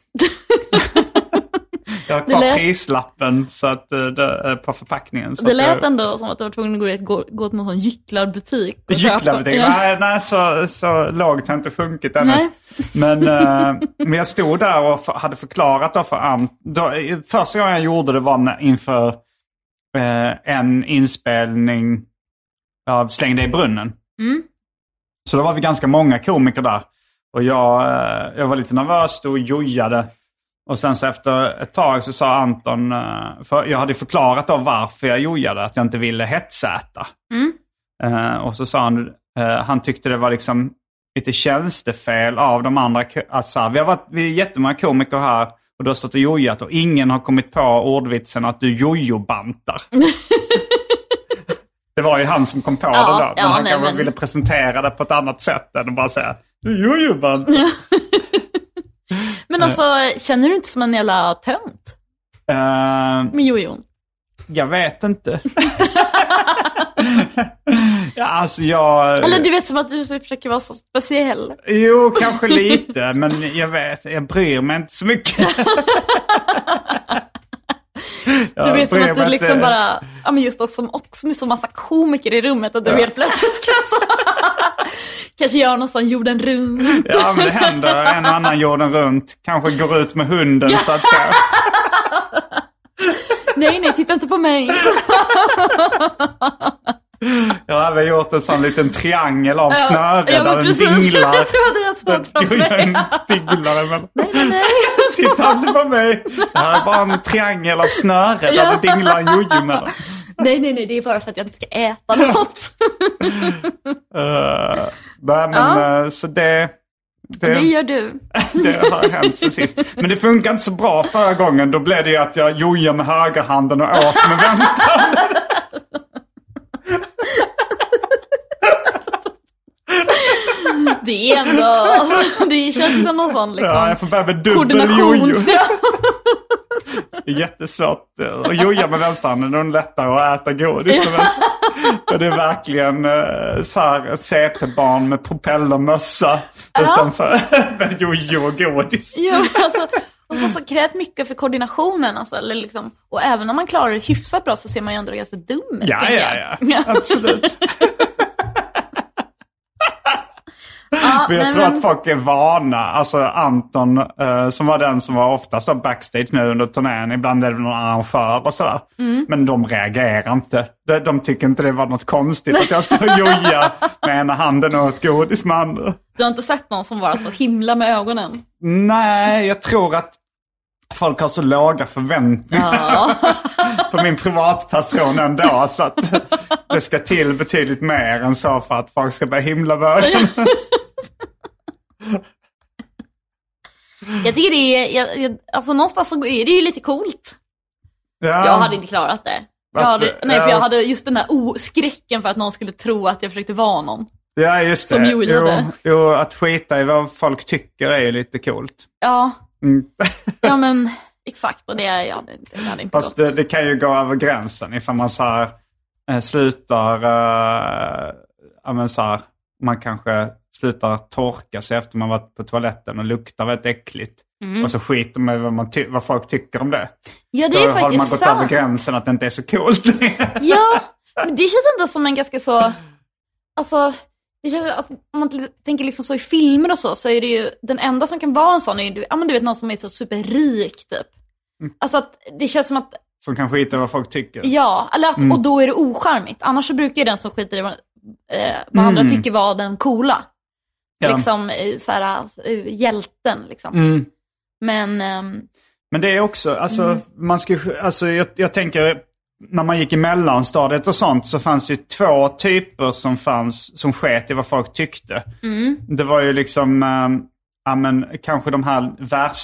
Speaker 3: jag har kvar
Speaker 4: Det lät-
Speaker 3: prislappen så att, eh, det, eh, på förpackningen. Så
Speaker 4: Det
Speaker 3: att
Speaker 4: lät
Speaker 3: jag...
Speaker 4: ändå som att du var tvungen att gå, i ett- gå, gå till någon sån gycklarbutik. och köpa-
Speaker 3: Gycklarbutik.
Speaker 4: Ja.
Speaker 3: Nej, nej så, så lågt har jag inte sjunkit ännu.
Speaker 4: Nej.
Speaker 3: Men, eh, men jag stod där och för, hade förklarat då för Ant. Då, eh, första gången jag gjorde det var när, inför eh, en inspelning av Släng dig i brunnen.
Speaker 4: Mm.
Speaker 3: Så då var vi ganska många komiker där. Och jag, eh, jag var lite nervös, stod och jojade. Och sen så efter ett tag så sa Anton, eh, för jag hade förklarat då varför jag jojade, att jag inte ville hetsäta.
Speaker 4: Mm.
Speaker 3: Eh, och så sa han, eh, han tyckte det var liksom lite tjänstefel av de andra. ko- Alltså, så här, vi, har varit, vi är jättemånga komiker här och du har stått och jojat och ingen har kommit på ordvitsen att du
Speaker 4: [LAUGHS]
Speaker 3: jojobantar. det var ju han som kom på
Speaker 4: Ja,
Speaker 3: det då. Men
Speaker 4: ja,
Speaker 3: han
Speaker 4: nej,
Speaker 3: kanske
Speaker 4: men-
Speaker 3: ville presentera det på ett annat sätt än att bara säga du jojobantar.
Speaker 4: [LAUGHS] Men alltså, känner du inte som en jävla tönt
Speaker 3: Eh,
Speaker 4: med jojon?
Speaker 3: jag vet
Speaker 4: [LAUGHS]
Speaker 3: inte. ja, alltså jag...
Speaker 4: Eller du vet som att du försöker vara så speciell.
Speaker 3: Jo, kanske lite, men jag vet, jag bryr mig inte så mycket.
Speaker 4: Du
Speaker 3: Jag
Speaker 4: vet som
Speaker 3: bryr
Speaker 4: att [LAUGHS] du
Speaker 3: mig
Speaker 4: liksom
Speaker 3: inte.
Speaker 4: bara, ja men just också, också med så massa komiker i rummet att du helt plötsligt ska så, [LAUGHS] kanske göra någon sån jorden runt.
Speaker 3: Ja, men det händer en och annan jorden runt. Kanske går ut med hunden så att säga.
Speaker 4: Nej nej, titta inte på mig.
Speaker 3: Jag har även gjort en sån liten triangel av snöre
Speaker 4: Ja, men
Speaker 3: där den
Speaker 4: precis. [LAUGHS]
Speaker 3: dinglar.
Speaker 4: det var det jag såg framför mig.
Speaker 3: Den dinglar emellan.
Speaker 4: Nej.
Speaker 3: Titta inte på mig! Det här är bara en triangel av snöre där
Speaker 4: Ja.
Speaker 3: det dinglar en jojo mellan.
Speaker 4: nej nej nej, det är bara för att jag inte ska äta något.
Speaker 3: Eh, nej, men
Speaker 4: Ja.
Speaker 3: eh, så det...
Speaker 4: Det gör du.
Speaker 3: Det har hänt sen sist. Men det funkar inte så bra förra gången. Då blev det ju att jag jojade med högerhanden och åt med vänster.
Speaker 4: Det är ändå, alltså, det känns som någon sån liksom,
Speaker 3: Ja, jag får börja med dubbel jojo.
Speaker 4: koordinations...
Speaker 3: Det är jättesvårt eh, att joja med vänsterhanden. Det är lättare att äta godis med vänster. Och det är verkligen eh, så här CP-barn med propellermössa utanför. [LAUGHS] med jojo och godis.
Speaker 4: Ja, men alltså, och så, så krävs mycket för koordinationen. Alltså, eller liksom, och även om man klarar det hyfsat bra så ser man ju ändå ganska dum ut.
Speaker 3: Ja,
Speaker 4: tänker jag.
Speaker 3: ja,
Speaker 4: [LAUGHS]
Speaker 3: ja. Absolut.
Speaker 4: Ja,
Speaker 3: Men jag
Speaker 4: nej,
Speaker 3: tror
Speaker 4: men-
Speaker 3: att folk är vana. Alltså Anton eh, som var den som var oftast då backstage nu under turnén. Ibland är det någon arrangör och sådär.
Speaker 4: Mm.
Speaker 3: Men de reagerar inte. De, de tycker inte det var något konstigt att jag står och
Speaker 4: [LAUGHS]
Speaker 3: jojar med ena handen och ett godis med andra.
Speaker 4: Du har inte sett någon som bara så himla med ögonen?
Speaker 3: Nej, jag tror att folk har så låga förväntningar [LAUGHS] på min privatperson ändå. Så att det ska till betydligt mer än så för att folk ska börja himla med ögonen.
Speaker 4: Jag tycker det är, jag, jag, alltså någonstans så är det ju lite coolt.
Speaker 3: Ja.
Speaker 4: [LAUGHS] Jag hade inte klarat det. Jag
Speaker 3: Att- eh,
Speaker 4: hade, nej, för jag
Speaker 3: ja.
Speaker 4: hade just den där o- skräcken för att någon skulle tro att jag försökte vara någon.
Speaker 3: Ja, just det.
Speaker 4: Som Julia hade.
Speaker 3: jo, jo, att skita i vad folk tycker är ju lite coolt.
Speaker 4: Ja,
Speaker 3: Mm.
Speaker 4: [LAUGHS] ja men exakt. Och det jag hade inte, jag hade inte
Speaker 3: Fast
Speaker 4: gått.
Speaker 3: det, det kan ju gå över gränsen ifall man så här, eh, slutar, eh, ja men så här, man kanske slutar torka sig efter man varit på toaletten och luktar väldigt äckligt. Och så skiter man i vad, man ty- vad folk tycker om det.
Speaker 4: Mm. Ja, det
Speaker 3: Då
Speaker 4: är
Speaker 3: har man gått
Speaker 4: faktiskt
Speaker 3: över
Speaker 4: sant.
Speaker 3: gränsen att det inte är så coolt. [LAUGHS]
Speaker 4: Ja, men det känns ändå som en ganska så, alltså, det känns, alltså om man till- tänker liksom så i filmer och så, så är det ju, den enda som kan vara en sån är ju, du- ja men du vet någon som är så superrik typ.
Speaker 3: Mm.
Speaker 4: Alltså att det känns som att,
Speaker 3: Som kan skita i vad folk tycker.
Speaker 4: ja, Mm. eller att, och då är det ocharmigt. Annars så brukar ju den som skiter i vad, eh, vad andra tycker vara den coola.
Speaker 3: Ja.
Speaker 4: Liksom eh, så här, alltså, eh, hjälten liksom.
Speaker 3: Mm.
Speaker 4: Men, ehm,
Speaker 3: Men det är också, alltså, man ska, ju- alltså jag, jag tänker när man gick i mellanstadiet och sånt så fanns det ju två typer som fanns som sket i vad folk tyckte. Det var ju liksom, eh, ja men kanske de här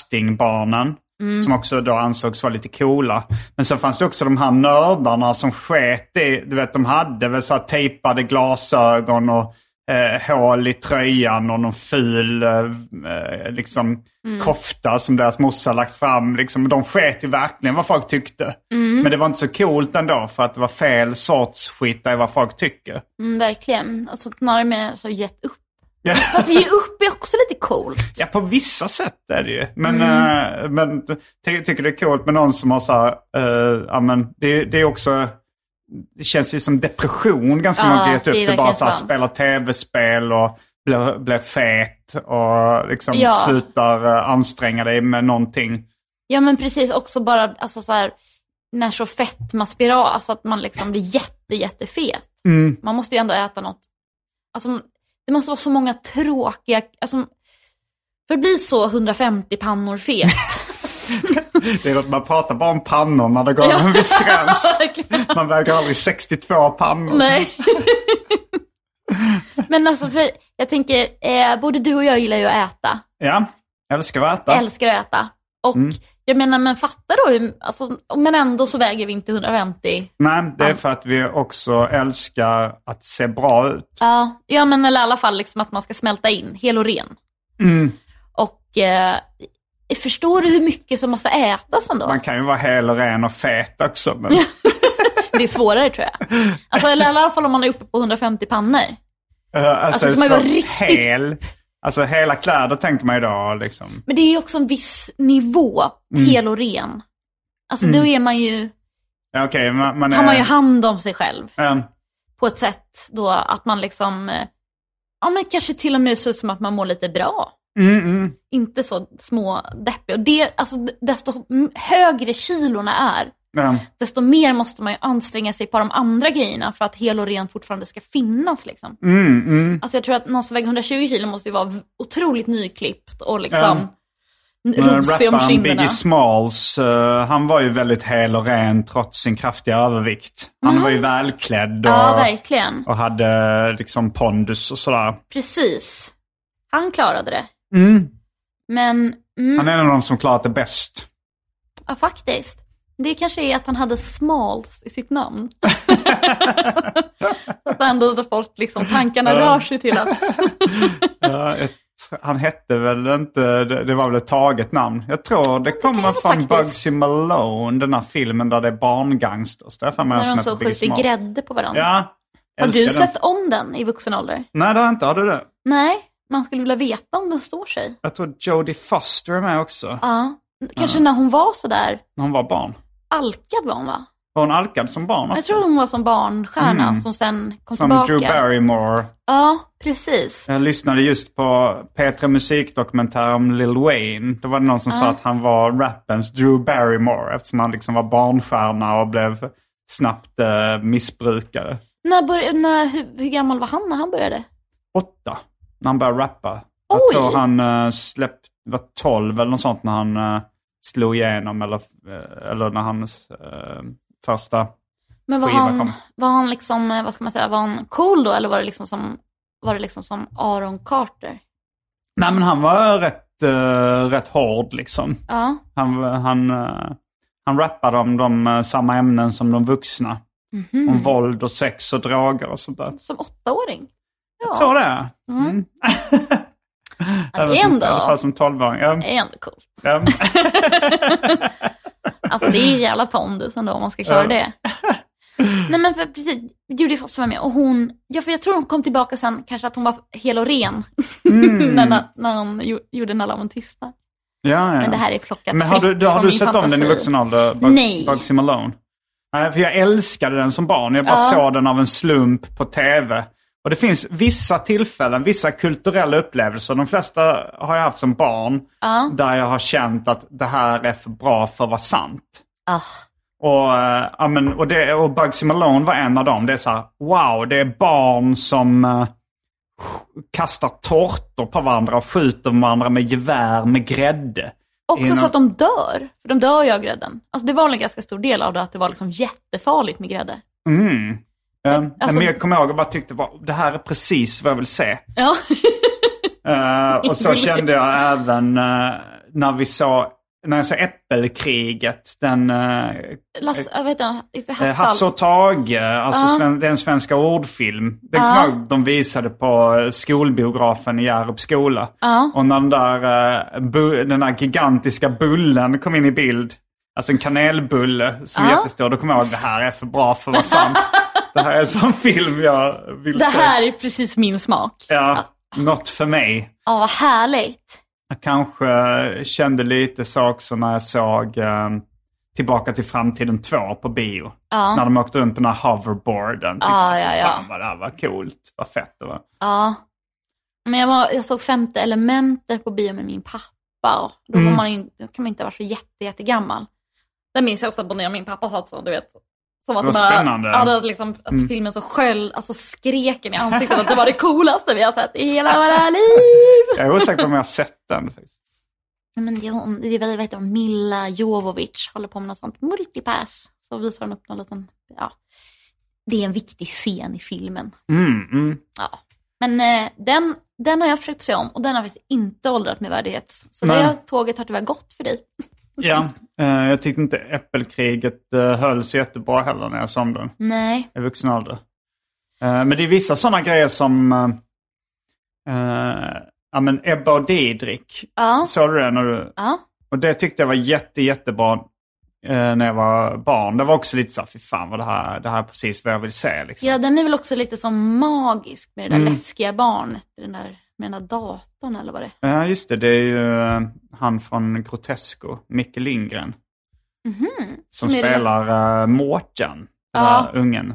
Speaker 3: värstingbarnen. Som också då ansågs vara lite coola. Men sen fanns det också de här nördarna som sket i, du vet de hade väl så här tejpade glasögon och eh, hål i tröjan och någon ful eh, eh, liksom, kofta som deras morsa lagt fram. Liksom, de sket ju verkligen vad folk tyckte. Men det var inte så coolt ändå för att det var fel sorts skita i vad folk tycker.
Speaker 4: mm, verkligen. Alltså när de är så gett upp.
Speaker 3: Ja.
Speaker 4: Fast ge upp är också lite coolt.
Speaker 3: Ja, på vissa sätt är det ju. Men,
Speaker 4: Mm.
Speaker 3: eh, men ty tycker det är coolt med någon som har så här, eh, ja men det, det är också, det känns ju som depression ganska
Speaker 4: Ja,
Speaker 3: många har gett
Speaker 4: det är
Speaker 3: upp. Det är bara
Speaker 4: verkligen
Speaker 3: så här,
Speaker 4: sant.
Speaker 3: spela tv-spel och bli, bli fet och liksom
Speaker 4: Ja.
Speaker 3: slutar eh, anstränga dig med någonting.
Speaker 4: Ja men precis, också bara alltså, så här, när så fett man spirar, alltså att man liksom blir jätte, jättefet. Man måste ju ändå äta något. Alltså, det måste vara så många tråkiga, alltså, för att bli så 150 pannor fet.
Speaker 3: Det är att man pratar bara om pannor när det går
Speaker 4: Ja.
Speaker 3: över en
Speaker 4: [LAUGHS]
Speaker 3: viss gräns.
Speaker 4: Verkligen.
Speaker 3: Man väger aldrig 62 pannor.
Speaker 4: Nej. [LAUGHS] men alltså, för, jag tänker, eh, både du och jag gillar ju att äta.
Speaker 3: Ja, älskar att äta.
Speaker 4: Älskar att äta. Och
Speaker 3: Mm.
Speaker 4: jag menar, men fatta då hur, alltså, men ändå så väger vi inte 150.
Speaker 3: Nej, det är för att vi också älskar att se bra ut.
Speaker 4: Ja, ja men eller i alla fall liksom att man ska smälta in, hel och ren.
Speaker 3: Mm.
Speaker 4: Och eh, förstår du hur mycket som måste ätas ändå?
Speaker 3: Man kan ju vara hel och ren och fet också.
Speaker 4: [LAUGHS]
Speaker 3: Men...
Speaker 4: Det är svårare tror jag. Alltså, eller i alla fall om man är uppe på 150 pannor.
Speaker 3: Eh, alltså,
Speaker 4: Alltså, ska man
Speaker 3: så
Speaker 4: vara riktigt-
Speaker 3: Hel, alltså hela kläder tänker man ju då liksom.
Speaker 4: Men det är ju också en viss nivå,
Speaker 3: Mm.
Speaker 4: hel och ren. Alltså då är man ju,
Speaker 3: Ja, Okej, man, man är...
Speaker 4: tar man ju hand om sig själv
Speaker 3: eh,
Speaker 4: på ett sätt då att man liksom, eh, ja men kanske till och med ser ut som att man mår lite bra.
Speaker 3: mm, mm.
Speaker 4: Inte så små deppig. Och det, alltså desto högre kilorna är,
Speaker 3: Ja.
Speaker 4: desto mer måste man ju anstränga sig på de andra grejerna för att hel och ren fortfarande ska finnas. Liksom.
Speaker 3: Mm, mm.
Speaker 4: Alltså jag tror att någon som väger 120 kilo måste ju vara v- otroligt nyklippt och liksom
Speaker 3: Ja. Men
Speaker 4: rosig om
Speaker 3: rapparen
Speaker 4: kinderna.
Speaker 3: Biggie Smalls, eh, han var ju väldigt hel och ren trots sin kraftiga övervikt. Han var ju välklädd och,
Speaker 4: Mm. Ja, verkligen.
Speaker 3: och hade liksom pondus och sådär.
Speaker 4: Precis. Han klarade det.
Speaker 3: Mm.
Speaker 4: Men, mm,
Speaker 3: Han är en av de som klarat det bäst.
Speaker 4: ja, faktiskt. Det kanske är att han hade Smalls i
Speaker 3: [LAUGHS]
Speaker 4: sitt namn. Så att ändå folk, liksom, tankarna rör sig till att
Speaker 3: Ja, jag Han hette väl inte, det det var väl ett taget namn. Jag tror det kommer
Speaker 4: vara
Speaker 3: från
Speaker 4: faktiskt.
Speaker 3: Bugsy Malone, den här filmen där det är barngangsters. Där har
Speaker 4: När de så skjuter grädde på varandra.
Speaker 3: Ja.
Speaker 4: har du
Speaker 3: älskar den.
Speaker 4: sett om den i vuxen ålder?
Speaker 3: Nej, det har jag inte. Har du det?
Speaker 4: Nej, man skulle vilja veta om den står sig.
Speaker 3: Jag tror Jodie Foster är med också.
Speaker 4: Ja, kanske när hon var sådär
Speaker 3: När hon var barn.
Speaker 4: alkad var hon va?
Speaker 3: Var hon alkad som barn också?
Speaker 4: Jag tror hon var som barnstjärna
Speaker 3: Mm.
Speaker 4: som sen kom
Speaker 3: som
Speaker 4: tillbaka.
Speaker 3: Drew Barrymore.
Speaker 4: Ja, precis.
Speaker 3: Jag lyssnade just på Petra Musikdokumentär om Lil Wayne. Då var det någon som sa att han var rappens Drew Barrymore eftersom han liksom var barnstjärna och blev snabbt eh, missbrukare.
Speaker 4: När bör, när, hur, hur gammal var han när han började?
Speaker 3: Åtta, när han började rappa. Jag
Speaker 4: Oj!
Speaker 3: tror han eh, släpp, var tolv eller något sånt när han eh, slog igenom eller, eh, eller när hans eh, första...
Speaker 4: Men var
Speaker 3: Skiva
Speaker 4: han,
Speaker 3: kom.
Speaker 4: var han liksom, eh, vad ska man säga, var han cool då eller var det liksom som, var det liksom som Aaron Carter?
Speaker 3: Nej men han var rätt, eh, rätt hård liksom.
Speaker 4: Ja,
Speaker 3: Han, han, eh, han rappade om de eh, samma ämnen som de vuxna.
Speaker 4: Mhm.
Speaker 3: Om våld och sex och droger och sånt där.
Speaker 4: som åttaåring. Ja,
Speaker 3: Jag tror det. Mm.
Speaker 4: Ja,
Speaker 3: Även
Speaker 4: det är
Speaker 3: som,
Speaker 4: ändå,
Speaker 3: I alla fall som tolvåring. Ja,
Speaker 4: [LAUGHS] det är ändå coolt.
Speaker 3: ja.
Speaker 4: Alltså det är en jävla pondus ändå om man ska
Speaker 3: [LAUGHS]
Speaker 4: klara det. Nej men för precis, Judy Foster var med och hon, ja, för jag tror hon kom tillbaka sen kanske att hon var hel och ren [LAUGHS]
Speaker 3: Mm.
Speaker 4: när, när, när hon gjo- gjorde Nalla Mon Tystnad.
Speaker 3: ja, ja.
Speaker 4: Men det här är plockat
Speaker 3: Men har
Speaker 4: fritt
Speaker 3: du, då har
Speaker 4: från
Speaker 3: du
Speaker 4: min
Speaker 3: sett om den i
Speaker 4: fantasi.
Speaker 3: vuxen ålder? Bug-
Speaker 4: Nej.
Speaker 3: Bugsy Malone? Nej, för jag älskade den som barn. Jag bara
Speaker 4: Ja.
Speaker 3: såg den av en slump på tv. Och det finns vissa tillfällen, vissa kulturella upplevelser, de flesta har jag haft som barn, där jag har känt att det här är för bra för att vara sant.
Speaker 4: Ah,
Speaker 3: Och, eh, ja, men, och, det, och Bugsy Malone var en av dem. Det är så här, wow, det är barn som eh, sk- kastar tårtor på varandra och skjuter varandra med gevär med grädde.
Speaker 4: också
Speaker 3: Inom-
Speaker 4: så att de dör, för de dör ju av grädden. Alltså det var väl en ganska stor del av det att det var liksom jättefarligt med grädde.
Speaker 3: Mm. Eh, nej,
Speaker 4: alltså-
Speaker 3: men jag kommer ihåg och bara tyckte, "Wow, det här är precis vad jag vill se.
Speaker 4: [LAUGHS] Ja,
Speaker 3: Eh, och så kände
Speaker 4: [LAUGHS]
Speaker 3: jag även eh, när vi såg, när jag såg Äppelkriget, den eh,
Speaker 4: Lasse, jag vet inte,
Speaker 3: Eh, Hasse
Speaker 4: Hassel.
Speaker 3: och Tage, alltså sven, det är en svenska ordfilm. Den
Speaker 4: Ja.
Speaker 3: uh. de visade på eh, skolbiografen i Hjärups skola.
Speaker 4: Ja.
Speaker 3: Och när den där, eh, bu- den där gigantiska bullen kom in i bild, alltså en kanelbulle som är
Speaker 4: Ja.
Speaker 3: jättestor, då kommer jag ihåg det här är för bra för att vara
Speaker 4: [LAUGHS]
Speaker 3: sant. det här är en sån film jag vill
Speaker 4: Det
Speaker 3: se.
Speaker 4: här är precis min smak.
Speaker 3: Ja, något för mig.
Speaker 4: Ja, vad härligt.
Speaker 3: Jag kanske eh, kände lite så också när jag såg eh, Tillbaka till framtiden 2 på bio.
Speaker 4: Ja.
Speaker 3: När de åkte runt på den här hoverboarden. Tyckte
Speaker 4: Ja,
Speaker 3: jag,
Speaker 4: ja,
Speaker 3: "Fy
Speaker 4: ja.
Speaker 3: Fan vad det här var coolt. Vad fett det var.
Speaker 4: Ja. Men jag, var, jag såg femte elementet på bio med min pappa. Och då,
Speaker 3: Mm.
Speaker 4: var man ju, då kan man inte vara så jätte, jättegammal. Där minns jag också att när min pappa satt så, du vet. Som att
Speaker 3: Det var
Speaker 4: de här-
Speaker 3: spännande. Mm.
Speaker 4: Ja, det var liksom, att filmen så sköll, alltså skreken i
Speaker 3: [LAUGHS]
Speaker 4: ansiktet att det var det coolaste vi har sett i hela våra liv.
Speaker 3: Jag är osäker på om jag har sett den. faktiskt.
Speaker 4: Men det är hon, det är, väl- vad heter hon, Milla Jovovic, håller på med något sånt multipass. Så visar hon upp någon liten, ja. Det är en viktig scen i filmen.
Speaker 3: Mm, mm.
Speaker 4: Ja. Men eh, den, den har jag försökt se om och den har faktiskt inte åldrat med värdighet. Så
Speaker 3: Nej.
Speaker 4: det tåget har tyvärr gått för dig.
Speaker 3: Ja, eh, jag tyckte inte Äppelkriget eh, höll sig jättebra heller när jag såg den
Speaker 4: Nej.
Speaker 3: i vuxen ålder. Eh, men det är vissa sådana grejer som eh, eh, ja, men Ebba och Didrik.
Speaker 4: Ja.
Speaker 3: Såg du det när du
Speaker 4: Ja.
Speaker 3: Och det tyckte jag var jätte, jättebra eh, när jag var barn. Det var också lite så här, fy fan vad det här, det här är precis vad jag vill se. Liksom.
Speaker 4: ja, den är väl också lite som magisk med det där
Speaker 3: Mm.
Speaker 4: läskiga barnet. Den där, med den där datorn eller vad det är.
Speaker 3: Ja, just det. Det är ju eh, han från Grotesco, Micke Lindgren. Som
Speaker 4: Mhm. Som är det
Speaker 3: spelar uh, Mårten, den
Speaker 4: Ja.
Speaker 3: där ungen.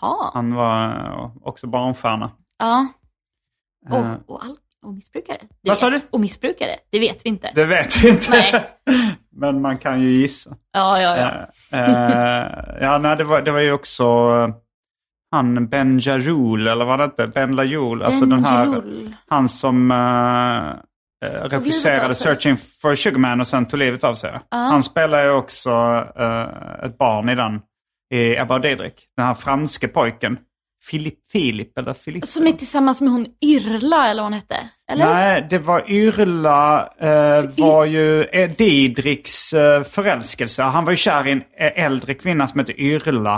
Speaker 4: Jaha.
Speaker 3: Han var eh, också barnstjärna.
Speaker 4: Ja.
Speaker 3: Eh,
Speaker 4: Och, och, all, och missbrukare. Det
Speaker 3: Vad sa
Speaker 4: vet-
Speaker 3: du?
Speaker 4: Och missbrukare, det vet vi inte.
Speaker 3: Det vet vi inte.
Speaker 4: Nej.
Speaker 3: [LAUGHS] Men man kan ju gissa.
Speaker 4: Ja, ja, ja.
Speaker 3: Eh, [LAUGHS] eh, ja, nej, det var, det var ju också eh, han Ben Jarul, eller vad det hette? Ben Lajul. Alltså den här,
Speaker 4: Benjerul.
Speaker 3: han som eh, eh,
Speaker 4: livet av
Speaker 3: regisserade
Speaker 4: sig.
Speaker 3: Searching for Sugar Man och sen tog livet av sig. Han spelar ju också eh, ett barn i den, i Ebba och Didrik. Den här franske pojken. Filip Filip eller Filip?
Speaker 4: Som är tillsammans med hon Yrla eller vad hon hette. Eller?
Speaker 3: Nej, det var Yrla, eh, var ju eh, Didriks eh, förälskelse. Han var ju kär i en eh, äldre kvinna som hette Yrla.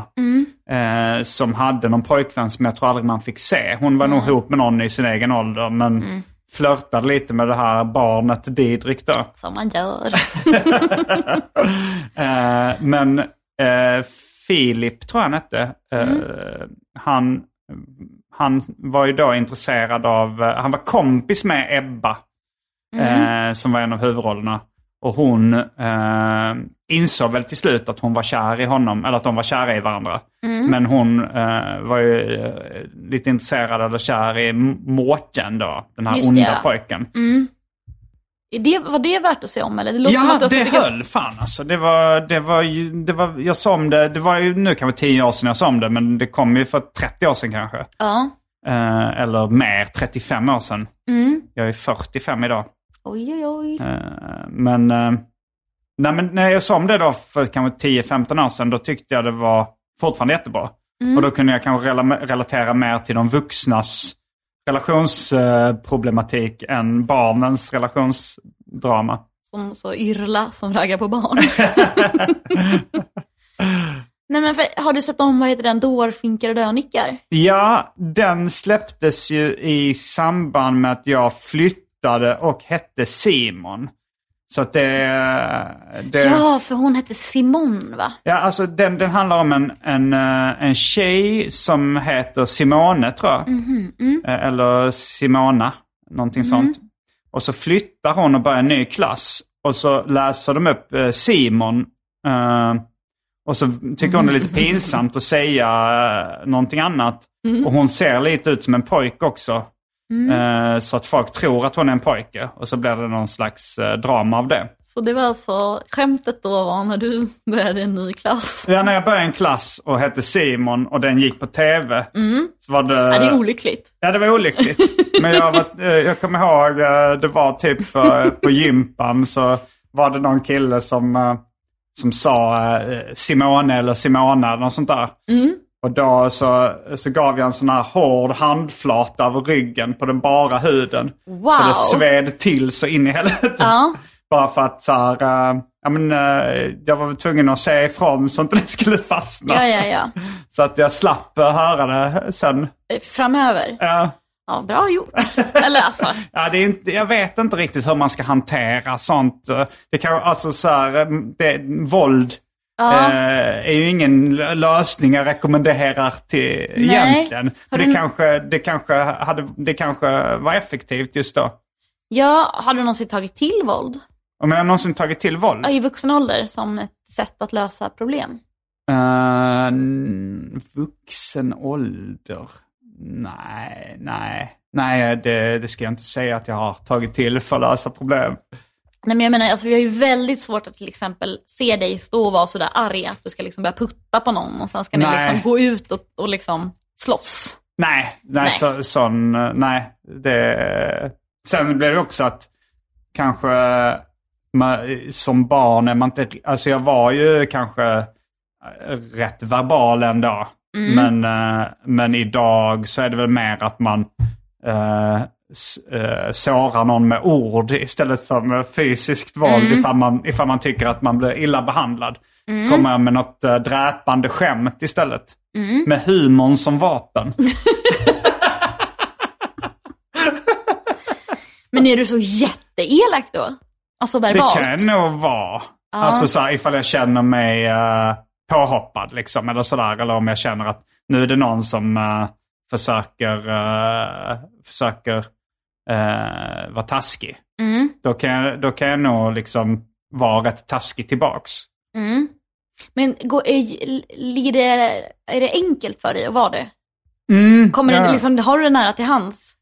Speaker 3: Eh, som hade någon pojkvän som jag tror aldrig man fick se. Hon var nog ihop med någon i sin egen ålder men flörtade lite med det här barnet Didrik då.
Speaker 4: Som man gör.
Speaker 3: Eh, men eh, Filip tror jag han hette. Eh,
Speaker 4: Mm.
Speaker 3: han, han var ju då intresserad av, eh, han var kompis med Ebba.
Speaker 4: Mm.
Speaker 3: Eh, som var en av huvudrollerna. Och hon eh, insåg väl till slut att hon var kär i honom, eller att de var kära i varandra.
Speaker 4: Mm.
Speaker 3: Men hon eh, var ju eh, lite intresserad eller kär i M- Mårten då, den här
Speaker 4: Just det,
Speaker 3: onda
Speaker 4: ja.
Speaker 3: pojken.
Speaker 4: Är det, var det värt att se om eller? Det låter som
Speaker 3: Ja,
Speaker 4: att du har
Speaker 3: det
Speaker 4: sett ganska-
Speaker 3: höll fan alltså. Det var, det var ju, det var, jag sa om det, det var ju nu kanske 10 år sedan jag sa om det, men det kom ju för 30 år sedan kanske.
Speaker 4: Ja.
Speaker 3: Eh, eller mer, 35 år sedan.
Speaker 4: Mm.
Speaker 3: Jag är 45 idag.
Speaker 4: Oj, oj, oj.
Speaker 3: Eh, men, eh, nej, men när jag sa om det då för kanske 10-15 år sedan, då tyckte jag det var fortfarande jättebra.
Speaker 4: Mm.
Speaker 3: Och då kunde jag kanske rela- relatera mer till de vuxnas relationsproblematik än barnens relationsdrama.
Speaker 4: Som så yrla som raggar
Speaker 3: [LAUGHS]
Speaker 4: på barn. Nej men för, har du sett om, vad heter den, dårfinkar och dönickar?
Speaker 3: Ja, den släpptes ju i samband med att jag flyttade och hette Simon. Så att det... det
Speaker 4: Ja, för hon hette Simon va?
Speaker 3: Ja, alltså den, den handlar om en, en, eh, en tjej som heter Simone tror jag. Eh, Eller Simona, någonting sånt. Och så flyttar hon och börjar en ny klass. Och så läser de upp eh, Simon. eh, och så tycker hon det är lite pinsamt att säga eh, någonting annat. Och hon ser lite ut som en pojke också. Eh, så att folk tror att hon är en pojke. Och så blir det någon slags eh, drama av det.
Speaker 4: Så det var alltså, skämtet då var när du började en ny klass.
Speaker 3: Ja, när jag började en klass och hette Simon och den gick på tv. Så var det...
Speaker 4: Mm. Ja, det är olyckligt.
Speaker 3: Ja, det var olyckligt. Men jag, var, eh, jag kommer ihåg, eh, det var typ eh, på gympan så var det någon kille som, eh, som sa eh, Simone eller Simona eller något sånt där.
Speaker 4: Mm.
Speaker 3: Och då så, så gav jag en sån här hård handflata över ryggen på den bara huden. Så
Speaker 4: Wow.
Speaker 3: det sved till så in i helvete.
Speaker 4: Ja,
Speaker 3: Bara för att så här, eh, ja, men, eh, jag var tvungen att säga ifrån så inte det skulle fastna.
Speaker 4: ja, ja,
Speaker 3: [LAUGHS]
Speaker 4: ja.
Speaker 3: Så att jag slapp eh, höra det sen.
Speaker 4: Eh, Framöver.
Speaker 3: Ja.
Speaker 4: Ja, bra gjort. Eller alltså,
Speaker 3: Ja, det är inte, jag vet inte riktigt hur man ska hantera sånt. Det kan, alltså, så här, eh, det, våld eh, är ju ingen lö- lösning jag rekommenderar till egentligen.
Speaker 4: Har
Speaker 3: Men
Speaker 4: du-
Speaker 3: det, kanske, det, kanske hade, det kanske var effektivt just då.
Speaker 4: ja, har du någonsin tagit till våld?
Speaker 3: Om jag någonsin tagit till våld?
Speaker 4: Ja, I vuxen ålder som ett sätt att lösa problem?
Speaker 3: Eh, n- vuxen ålder? Nej, nej. Nej, det, det ska jag inte säga att jag har tagit till för att lösa problem.
Speaker 4: Nej men jag menar, alltså, vi har ju väldigt svårt att till exempel se dig stå och vara sådär arg att du ska liksom börja putta på någon och sen ska ni
Speaker 3: Nej.
Speaker 4: liksom gå ut och, och liksom slåss.
Speaker 3: Nej, nej,
Speaker 4: Nej.
Speaker 3: Så, sån, eh, nej. Det... Sen blev det också att kanske eh, man, som barn är man inte, alltså jag var ju kanske eh, rätt verbal ändå. Men, eh, men idag så är det väl mer att man eh, s- eh, sårar någon med ord istället för med fysiskt våld ifall, man, ifall man tycker att man blir illa behandlad. Så kommer jag med något eh, dräpande skämt istället. Med humorn som vapen.
Speaker 4: Men är du så jätteelak då? Alltså
Speaker 3: Det
Speaker 4: verbalt?
Speaker 3: kan nog vara. Alltså så här, ifall jag känner mig eh, påhoppad liksom eller sådär. Eller om jag känner att nu är det någon som eh, försöker, eh, försöker eh, vara taskig. Då, kan jag, då kan jag nog liksom vara rätt taskig tillbaks.
Speaker 4: Men gå, är, ligger det, är det enkelt för dig att vara det? Kommer det,
Speaker 3: Mm, ja.
Speaker 4: liksom, har du det nära till hands?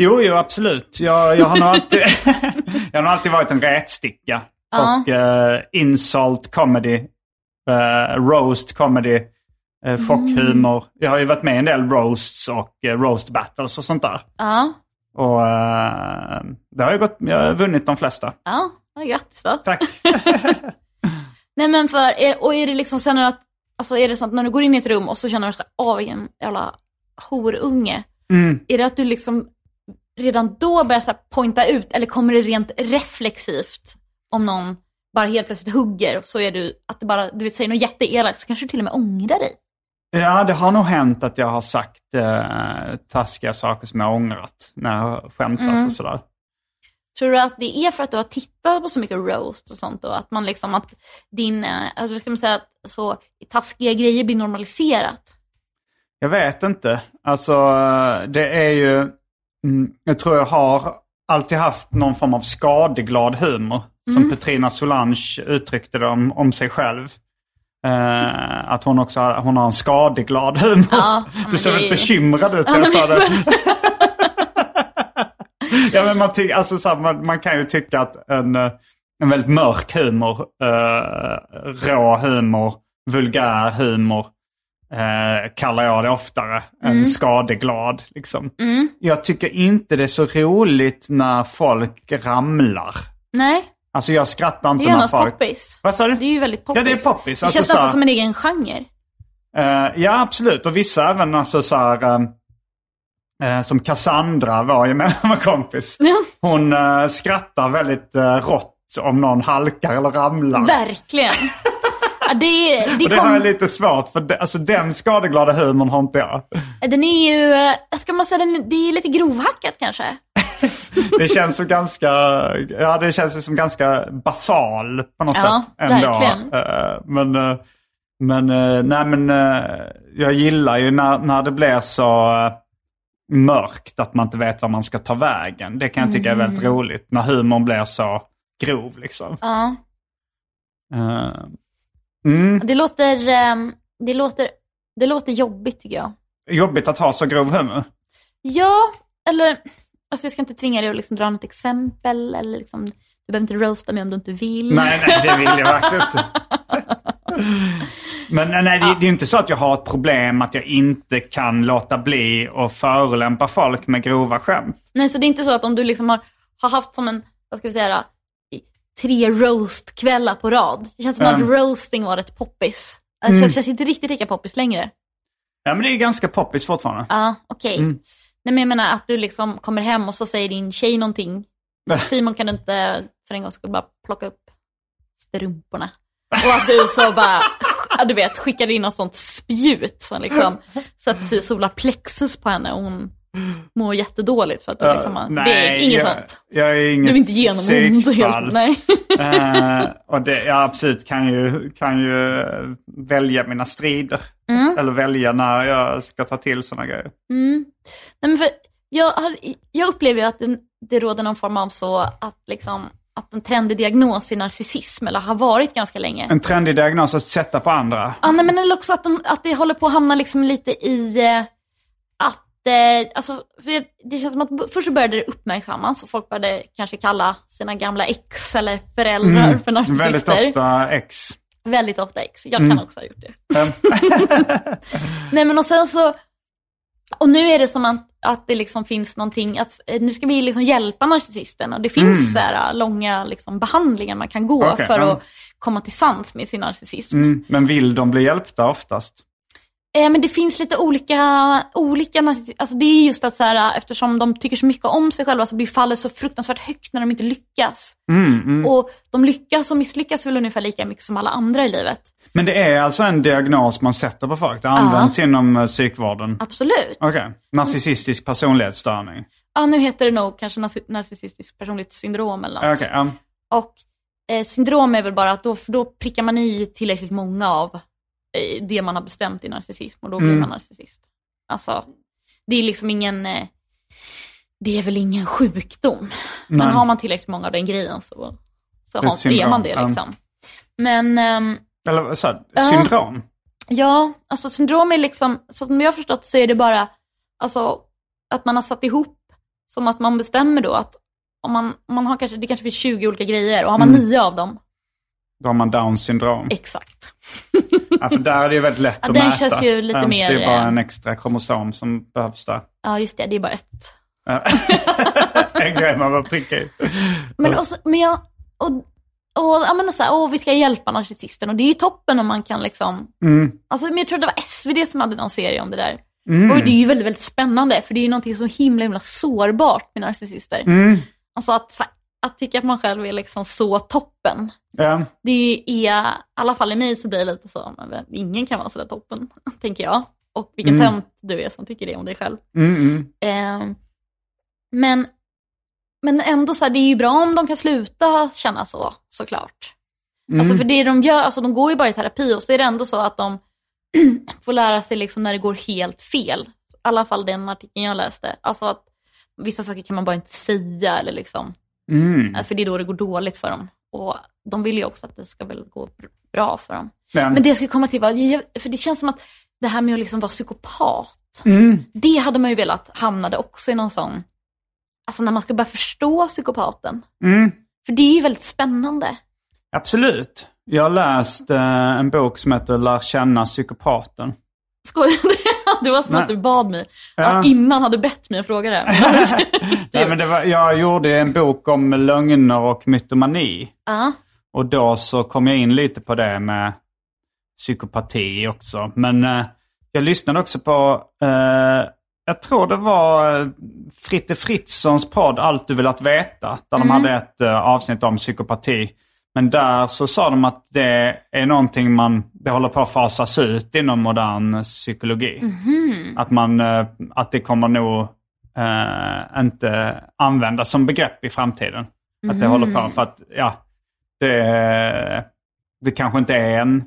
Speaker 3: Jo, jo absolut. Jag, jag, har, nog alltid, jag har nog alltid varit en rätsticka.
Speaker 4: Ja.
Speaker 3: Och eh, insult comedy, eh, roast comedy, eh, chockhumor. Jag har ju varit med i en del roasts och eh, roast battles och sånt där.
Speaker 4: Ja,
Speaker 3: Och eh, det har ju gått, jag har vunnit de flesta.
Speaker 4: ja, ja grattis då.
Speaker 3: Tack.
Speaker 4: Nej men för, är, och är det liksom sen att, alltså är det sånt när du går in i ett rum och så känner du såhär, åh vilken jävla horunge. Är det att du liksom redan då börjar så här pointa ut eller kommer det rent reflexivt om någon bara helt plötsligt hugger så är du, att det bara, du vet, säger något jätteelakt så kanske du till och med ångrar dig.
Speaker 3: Ja, det har nog hänt att jag har sagt eh, taskiga saker som jag har ångrat när jag har skämtat och sådär.
Speaker 4: Tror du att det är för att du har tittat på så mycket roast och sånt då? Att man liksom, att din, eh, alltså hur ska man säga, att så taskiga grejer blir normaliserat?
Speaker 3: Jag vet inte. Alltså eh, det är ju... mm, Jag tror jag har alltid haft någon form av skadeglad humor.
Speaker 4: Mm.
Speaker 3: Som Petrina Solange uttryckte det om, om sig själv. Eh, att hon också har, hon har en skadeglad humor.
Speaker 4: Ja, men
Speaker 3: du ser
Speaker 4: det är
Speaker 3: väldigt
Speaker 4: ju-
Speaker 3: bekymrad ut när jag sa det. Ja, men man, ty- alltså, så här, man, man kan ju tycka att en, eh, en väldigt mörk humor, eh, rå humor, vulgär humor eh, kallar jag det oftare
Speaker 4: Mm.
Speaker 3: än skadeglad. Liksom. Jag tycker inte det är så roligt när folk ramlar.
Speaker 4: [LAUGHS] Nej,
Speaker 3: Alltså jag skrattar
Speaker 4: det
Speaker 3: inte
Speaker 4: är ju
Speaker 3: när
Speaker 4: något
Speaker 3: folk...
Speaker 4: poppis.
Speaker 3: Vad sa du?
Speaker 4: Det är ju väldigt poppis.
Speaker 3: Ja, det är poppis.
Speaker 4: det
Speaker 3: Alltså,
Speaker 4: känns
Speaker 3: så här-
Speaker 4: nästan som en egen genre.
Speaker 3: Eh, ja, absolut. Och vissa även alltså, så här, eh, eh, som Cassandra, vår gemensamma kompis. Hon eh, skrattar väldigt eh, rått om någon halkar eller ramlar.
Speaker 4: Verkligen. Ja, det, det
Speaker 3: Och det
Speaker 4: kom...
Speaker 3: har jag lite svårt för. Det, alltså, den skadeglada humorn har inte jag.
Speaker 4: Den är ju, eh, ska man säga, den, det är lite grovhackat kanske.
Speaker 3: Det känns som ganska, ja, det känns ju som ganska basal på något
Speaker 4: Ja,
Speaker 3: sätt. Ändå.
Speaker 4: verkligen.
Speaker 3: Eh, men eh, men, eh, nej, men eh, jag gillar ju när, när det blir så eh, mörkt att man inte vet var man ska ta vägen. Det kan jag tycka är väldigt
Speaker 4: Mm.
Speaker 3: roligt. När humorn blir så grov liksom.
Speaker 4: Ja.
Speaker 3: Eh, mm,
Speaker 4: Det låter, ehm, det låter, det låter jobbigt tycker jag.
Speaker 3: jobbigt att ha så grov humor.
Speaker 4: Ja, eller, alltså jag ska inte tvinga dig att liksom dra något exempel eller liksom, du behöver inte roasta mig om du inte vill.
Speaker 3: Nej, nej, det vill jag verkligen inte. Men nej, nej, det, det är inte så att jag har ett problem att jag inte kan låta bli och förolämpa folk med grova skämt.
Speaker 4: Nej, så det är inte så att om du liksom har, har haft som en, vad ska vi säga då, i- tre roast-kvällar på rad. Det känns som
Speaker 3: Mm.
Speaker 4: att roasting var rätt poppis. Det känns, känns inte riktigt lika poppis längre.
Speaker 3: Ja, men det är ganska poppis fortfarande.
Speaker 4: Ja, okej. Nej, men jag menar att du liksom kommer hem och så säger din tjej någonting. Simon kan du inte för en gång skull bara plocka upp strumporna. Och att du så bara, [LAUGHS] ja, du vet, skickade in något sånt spjut som liksom sätter sig i solar plexus på henne och hon mår jättedåligt för att du liksom, har- det är inget
Speaker 3: jag,
Speaker 4: sånt.
Speaker 3: Jag är
Speaker 4: Du
Speaker 3: inget
Speaker 4: är inte genomond [LAUGHS] helt.
Speaker 3: psykfall.
Speaker 4: Nej.
Speaker 3: Eh, och det, jag absolut kan ju, kan ju välja mina strider.
Speaker 4: Mm.
Speaker 3: Eller välja när jag ska ta till sådana grejer.
Speaker 4: Nej, men för jag, har, jag upplever ju att det, det råder någon form av så att liksom att en trendig diagnos är narcissism, eller har varit ganska länge.
Speaker 3: En trendig diagnos att sätta på andra.
Speaker 4: Ja, nej, men eller också att, de, att det håller på att hamna liksom lite i eh, att, eh, alltså, för det, det känns som att b- först så började det uppmärksammas och folk började kanske kalla sina gamla ex eller föräldrar för narcissister.
Speaker 3: Mm. Väldigt ofta ex.
Speaker 4: Väldigt ofta ex. Jag
Speaker 3: Mm.
Speaker 4: kan också ha gjort det. [LAUGHS] Nej men och sen så, och nu är det som att, att det liksom finns någonting, att eh, nu ska vi liksom hjälpa narcissisten och det finns så här, långa liksom, behandlingar man kan gå
Speaker 3: Mm. Okej,
Speaker 4: för
Speaker 3: ja.
Speaker 4: att komma till sans med sin narcissism.
Speaker 3: Mm. Men vill de bli hjälpta oftast?
Speaker 4: Eh, men det finns lite olika, olika narcissi- alltså det är just att så här, eftersom de tycker så mycket om sig själva så blir fallet så fruktansvärt högt när de inte lyckas.
Speaker 3: Mm,
Speaker 4: Och de lyckas och misslyckas väl ungefär lika mycket som alla andra i livet.
Speaker 3: Men det är alltså en diagnos man sätter på folk? Det används inom eh, psykvården?
Speaker 4: Absolut.
Speaker 3: Okej. Narcissistisk personlighetsstörning?
Speaker 4: Ja, nu heter det nog kanske narci- narcissistisk personligt syndrom eller
Speaker 3: Okej,
Speaker 4: något.
Speaker 3: ja.
Speaker 4: Och eh, syndrom är väl bara att då, då prickar man i tillräckligt många av eh, det man har bestämt i narcissism och då
Speaker 3: Mm.
Speaker 4: blir man narcissist. Alltså, det är liksom ingen, eh, det är väl ingen sjukdom. Men
Speaker 3: Nej.
Speaker 4: har man tillräckligt många av den grejen så, så
Speaker 3: Ett
Speaker 4: har, är man det
Speaker 3: syndrom, ja.
Speaker 4: liksom. Men ehm,
Speaker 3: Eller så här,
Speaker 4: Ja.
Speaker 3: syndrom?
Speaker 4: Ja, alltså syndrom är liksom, så som jag har förstått så är det bara alltså, att man har satt ihop som att man bestämmer då att om man, om man har kanske, det kanske finns 20 olika grejer och har man nio av dem,
Speaker 3: Då har man down syndrom.
Speaker 4: exakt.
Speaker 3: Ja, för där är det ju väldigt lätt
Speaker 4: Ja,
Speaker 3: att
Speaker 4: den
Speaker 3: mäta.
Speaker 4: känns ju lite
Speaker 3: Ja,
Speaker 4: mer,
Speaker 3: Det är bara
Speaker 4: eh,
Speaker 3: en extra kromosom som behövs där. [LAUGHS]
Speaker 4: Ja, just det, det är bara ett.
Speaker 3: Ja. en grej man bara prickar i.
Speaker 4: Men, och, så, men jag, och, och jag menar så här, åh, vi ska hjälpa narcissisten och det är ju toppen om man kan liksom, alltså, men jag tror det var SvD som hade någon serie om det där. Och det är ju väldigt, väldigt spännande för det är ju någonting så himla, himla sårbart med narcissister. Alltså att, så här, att tycka att man själv är liksom så toppen.
Speaker 3: Ja.
Speaker 4: Det är, i alla fall i mig så blir det lite så, men ingen kan vara sådär toppen, [LAUGHS] tänker jag. Och vilken tönt du är som tycker det om dig själv.
Speaker 3: Mm, mm.
Speaker 4: Eh, Ehm, men, Men ändå så här, det är ju bra om de kan sluta känna så, såklart. Alltså för det de gör, alltså de går ju bara i terapi och så är det ändå så att de [CLEARS THROAT] får lära sig liksom när det går helt fel. I alla fall den artikeln jag läste. Alltså att vissa saker kan man bara inte säga eller liksom,
Speaker 3: Mm.
Speaker 4: för det är då det går dåligt för dem. Och de vill ju också att det ska väl gå bra för dem.
Speaker 3: Men,
Speaker 4: Men det jag skulle komma till var, jag- för det känns som att det här med att liksom vara psykopat,
Speaker 3: mm.
Speaker 4: det hade man ju velat hamnade också i någon sån, alltså när man ska börja förstå psykopaten.
Speaker 3: Mm.
Speaker 4: För det är ju väldigt spännande.
Speaker 3: Absolut. Jag har läst eh, en bok som heter Lär känna psykopaten.
Speaker 4: Skojar du? [LAUGHS] Det var som
Speaker 3: Nej.
Speaker 4: att du bad mig,
Speaker 3: Ja.
Speaker 4: innan hade bett mig att fråga det.
Speaker 3: [LAUGHS]
Speaker 4: här.
Speaker 3: Nej, men det var, jag gjorde en bok om lögner och mytomani.
Speaker 4: Ja,
Speaker 3: Och då så kom jag in lite på det med psykopati också. Men eh, jag lyssnade också på, eh, jag tror det var eh, Fritte Fritzons podd Allt du vill att veta. Där de hade ett eh, avsnitt om psykopati. Men där så sa de att det är någonting man, det håller på att fasas ut inom modern psykologi. Att, man, eh, att det kommer nog eh, inte användas som begrepp i framtiden. Att det håller på för att, ja, det, det kanske inte är en,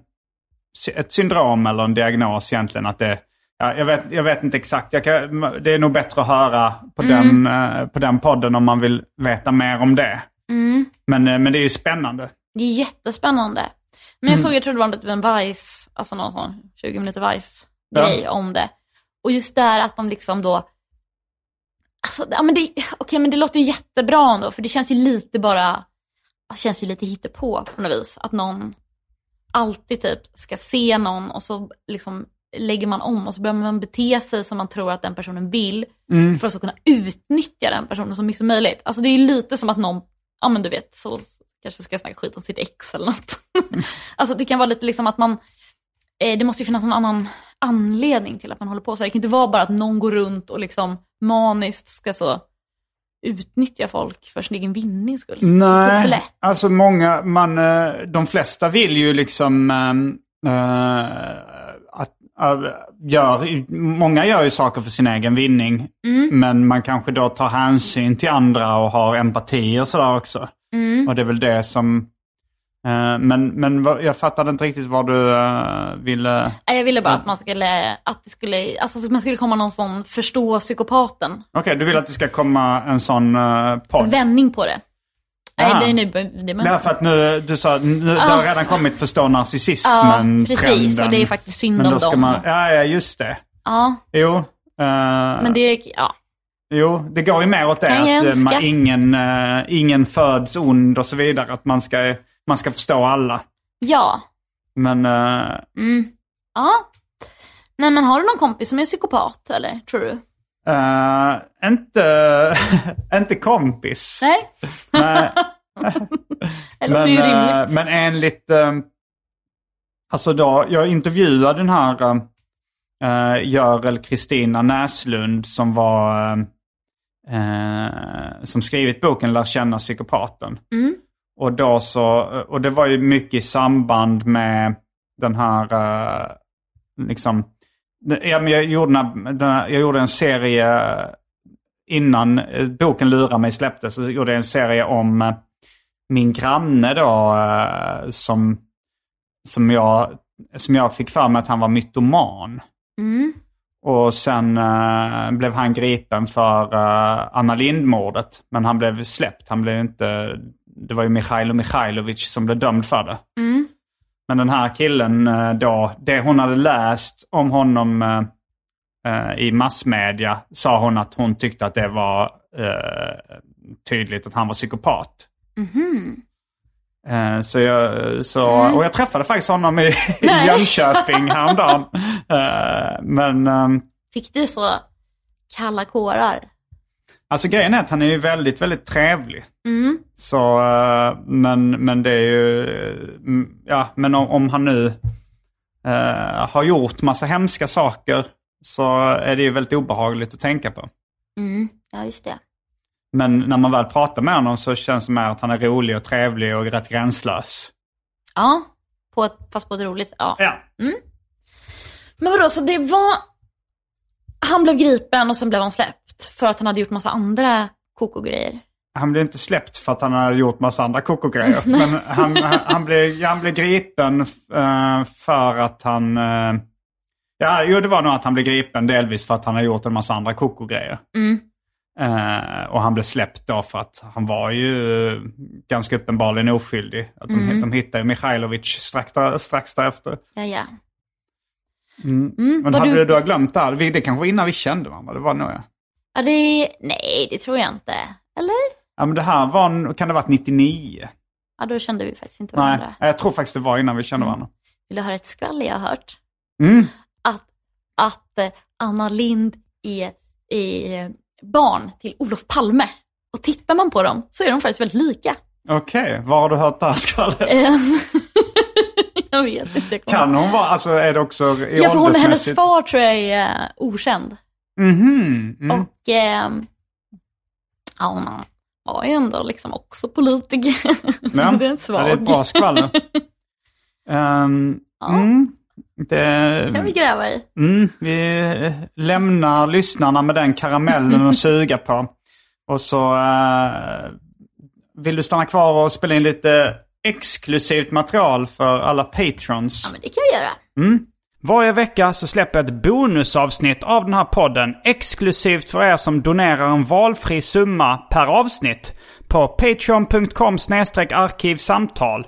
Speaker 3: ett syndrom eller en diagnos egentligen. Att det, ja, jag, vet, jag vet inte exakt. Jag kan, det är nog bättre att höra på, den, eh, på den podden om man vill veta mer om det. Men, eh, men det är ju spännande.
Speaker 4: det är jättespännande. Men jag såg, jag tror det var typ en Vice, alltså någon sån 20 minuter Vice-grej om det. Och just där att de liksom då, alltså, ja, men det, okej men det låter ju jättebra ändå, för det känns ju lite bara, det känns ju lite hittepå på något vis. Att någon alltid typ ska se någon och så liksom lägger man om och så börjar man bete sig som man tror att den personen vill för att så kunna utnyttja den personen så mycket som möjligt. Alltså det är ju lite som att någon, ja men du vet, så kanske ska snacka skit om sitt ex eller något. [LAUGHS] alltså det kan vara lite liksom att man, eh, det måste ju finnas någon annan anledning till att man håller på så här. Det kan inte vara bara att någon går runt och liksom maniskt ska så utnyttja folk för sin egen vinnings skull. Det känns lite för
Speaker 3: Nej,
Speaker 4: lätt.
Speaker 3: alltså många, man, eh, de flesta vill ju liksom eh, eh, att, eh, gör, många gör ju saker för sin egen vinning.
Speaker 4: Mm.
Speaker 3: Men man kanske då tar hänsyn till andra och har empati och sådär också.
Speaker 4: Mm.
Speaker 3: Och det är väl det som... eh, men men vad- jag fattade inte riktigt vad du eh, ville...
Speaker 4: Nej, Jag ville bara att man skulle, att det skulle, alltså att man skulle komma någon sån förstå psykopaten
Speaker 3: Okej, du vill att det ska komma en sån eh, podd?
Speaker 4: vändning på det.
Speaker 3: Aha.
Speaker 4: Nej, det är nu, det är
Speaker 3: Nej, för att nu, du sa att nu, det har redan kommit förstå
Speaker 4: Ja,
Speaker 3: narcissismen-trenden.
Speaker 4: precis. Och det är faktiskt synd
Speaker 3: Men
Speaker 4: om
Speaker 3: då ska
Speaker 4: dem.
Speaker 3: man, ja, ja, just det.
Speaker 4: Ja,
Speaker 3: Jo, eh,
Speaker 4: men det är, ja.
Speaker 3: jo, det går ju mer åt det
Speaker 4: Kan jag
Speaker 3: att eh,
Speaker 4: önska?
Speaker 3: man, ingen, eh, ingen föds ond och så vidare. Att man ska, man ska förstå alla.
Speaker 4: Ja.
Speaker 3: Men eh,
Speaker 4: Mm. Ja. Nej, men har du någon kompis som är psykopat, eller? Tror du?
Speaker 3: eh, inte, [LAUGHS] inte kompis.
Speaker 4: Nej?
Speaker 3: Nej,
Speaker 4: [LAUGHS] Det låter
Speaker 3: men,
Speaker 4: ju
Speaker 3: eh,
Speaker 4: rimligt.
Speaker 3: men enligt... eh, Alltså då, jag intervjuade den här eh, Görel Kristina Näslund som var... eh, eh, som skrivit boken Lär känna psykopaten.
Speaker 4: Mm.
Speaker 3: Och, då så, och det var ju mycket i samband med den här... eh, liksom, ja, men jag, gjorde den här, den här, jag gjorde en serie eh, innan eh, boken Lura mig släpptes. Så gjorde jag en serie om eh, min granne då eh, som, som, jag, som jag fick för mig att han var mytoman.
Speaker 4: Mm.
Speaker 3: Och sen eh, blev han gripen för eh, Anna Lindh-mordet. Men han blev släppt. Han blev inte... Det var ju Mikhailo Mikhailovic som blev dömd för det.
Speaker 4: Mm.
Speaker 3: Men den här killen eh, då, det hon hade läst om honom eh, eh, i massmedia sa hon att hon tyckte att det var eh, tydligt att han var psykopat. Eh, Så jag, så, Och jag träffade faktiskt honom i, i
Speaker 4: Mm. Nej. [LAUGHS]
Speaker 3: Jönköping häromdagen. Eh, Men ehm,
Speaker 4: Fick du så kalla kårar?
Speaker 3: alltså grejen är att han är ju väldigt, väldigt trevlig.
Speaker 4: Mm.
Speaker 3: Så, eh, men, men det är ju, mm, ja, men om, om han nu eh, har gjort massa hemska saker så är det ju väldigt obehagligt att tänka på.
Speaker 4: Mm. Ja, just det.
Speaker 3: Men när man väl pratar med honom så känns det mer att han är rolig och trevlig och rätt gränslös.
Speaker 4: Ja, på ett, fast på ett roligt ja.
Speaker 3: Ja,
Speaker 4: Men vadå, så det var... Han blev gripen och sen blev han släppt för att han hade gjort massa andra koko-grejer.
Speaker 3: han blev inte släppt för att han hade gjort massa andra
Speaker 4: [LAUGHS]
Speaker 3: kokogrejer. Men han, han, han, blev, han blev gripen eh, för att han... eh, ja, jo, det var nog att han blev gripen delvis för att han hade gjort en massa andra kokogrejer.
Speaker 4: Mm.
Speaker 3: Eh, och han blev släppt då för att han var ju eh, ganska uppenbarligen oskyldig. Att de,
Speaker 4: Mm.
Speaker 3: de hittade Mikhailovic strax, där, strax därefter.
Speaker 4: Ja, ja.
Speaker 3: Mm.
Speaker 4: Mm,
Speaker 3: Men
Speaker 4: var
Speaker 3: hade
Speaker 4: du-
Speaker 3: du då glömt det här? Vi- Det kanske var innan vi kände varandra, det var nog jag.
Speaker 4: Ja, det... Nej, det tror jag inte. Eller?
Speaker 3: Ja, men det här var, kan det ha varit 99?
Speaker 4: Ja, då kände vi faktiskt inte
Speaker 3: Nej,
Speaker 4: varandra.
Speaker 3: jag tror faktiskt det var innan vi
Speaker 4: Mm.
Speaker 3: kände varandra.
Speaker 4: Vill du höra ett skvall jag har hört?
Speaker 3: Mm.
Speaker 4: att, att eh, Anna Lind är, är eh, barn till Olof Palme. Och tittar man på dem så är de faktiskt väldigt lika. [LAUGHS]
Speaker 3: Okej, var har du hört det här skvallret?
Speaker 4: Eh, jag vet inte. jag kommer-
Speaker 3: Kan hon vara, alltså är det också i
Speaker 4: Ja, för hon, hennes
Speaker 3: åldersmässigt?
Speaker 4: far tror jag är eh, okänd.
Speaker 3: Mhm, mm.
Speaker 4: Och ehm, ja, hon var ju ändå liksom också politiker.
Speaker 3: Ja,
Speaker 4: [LAUGHS] det är en
Speaker 3: ja, det är ett
Speaker 4: svag.
Speaker 3: bra
Speaker 4: [LAUGHS]
Speaker 3: skvaller. Ehm, mm,
Speaker 4: kan vi
Speaker 3: det,
Speaker 4: gräva i.
Speaker 3: mm, vi eh, lämnar lyssnarna med den karamellen att suga på. Och så eh, vill du stanna kvar och spela in lite exklusivt material för alla patrons.
Speaker 4: Ja, men det kan vi göra.
Speaker 5: Varje vecka så släpper jag ett bonusavsnitt av den här podden exklusivt för er som donerar en valfri summa per avsnitt på patreon.com arkivsamtal.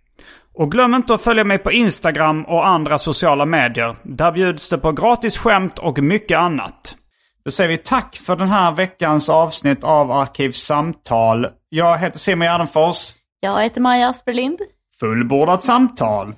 Speaker 5: Och glöm inte att följa mig på Instagram och andra sociala medier. Där bjuds det på gratis skämt och mycket annat.
Speaker 3: Då säger vi tack för den här veckans avsnitt av Arkivsamtal. Jag heter Simon Gärdenfors.
Speaker 4: Jag heter Maja Asperlind.
Speaker 3: Fullbordat samtal!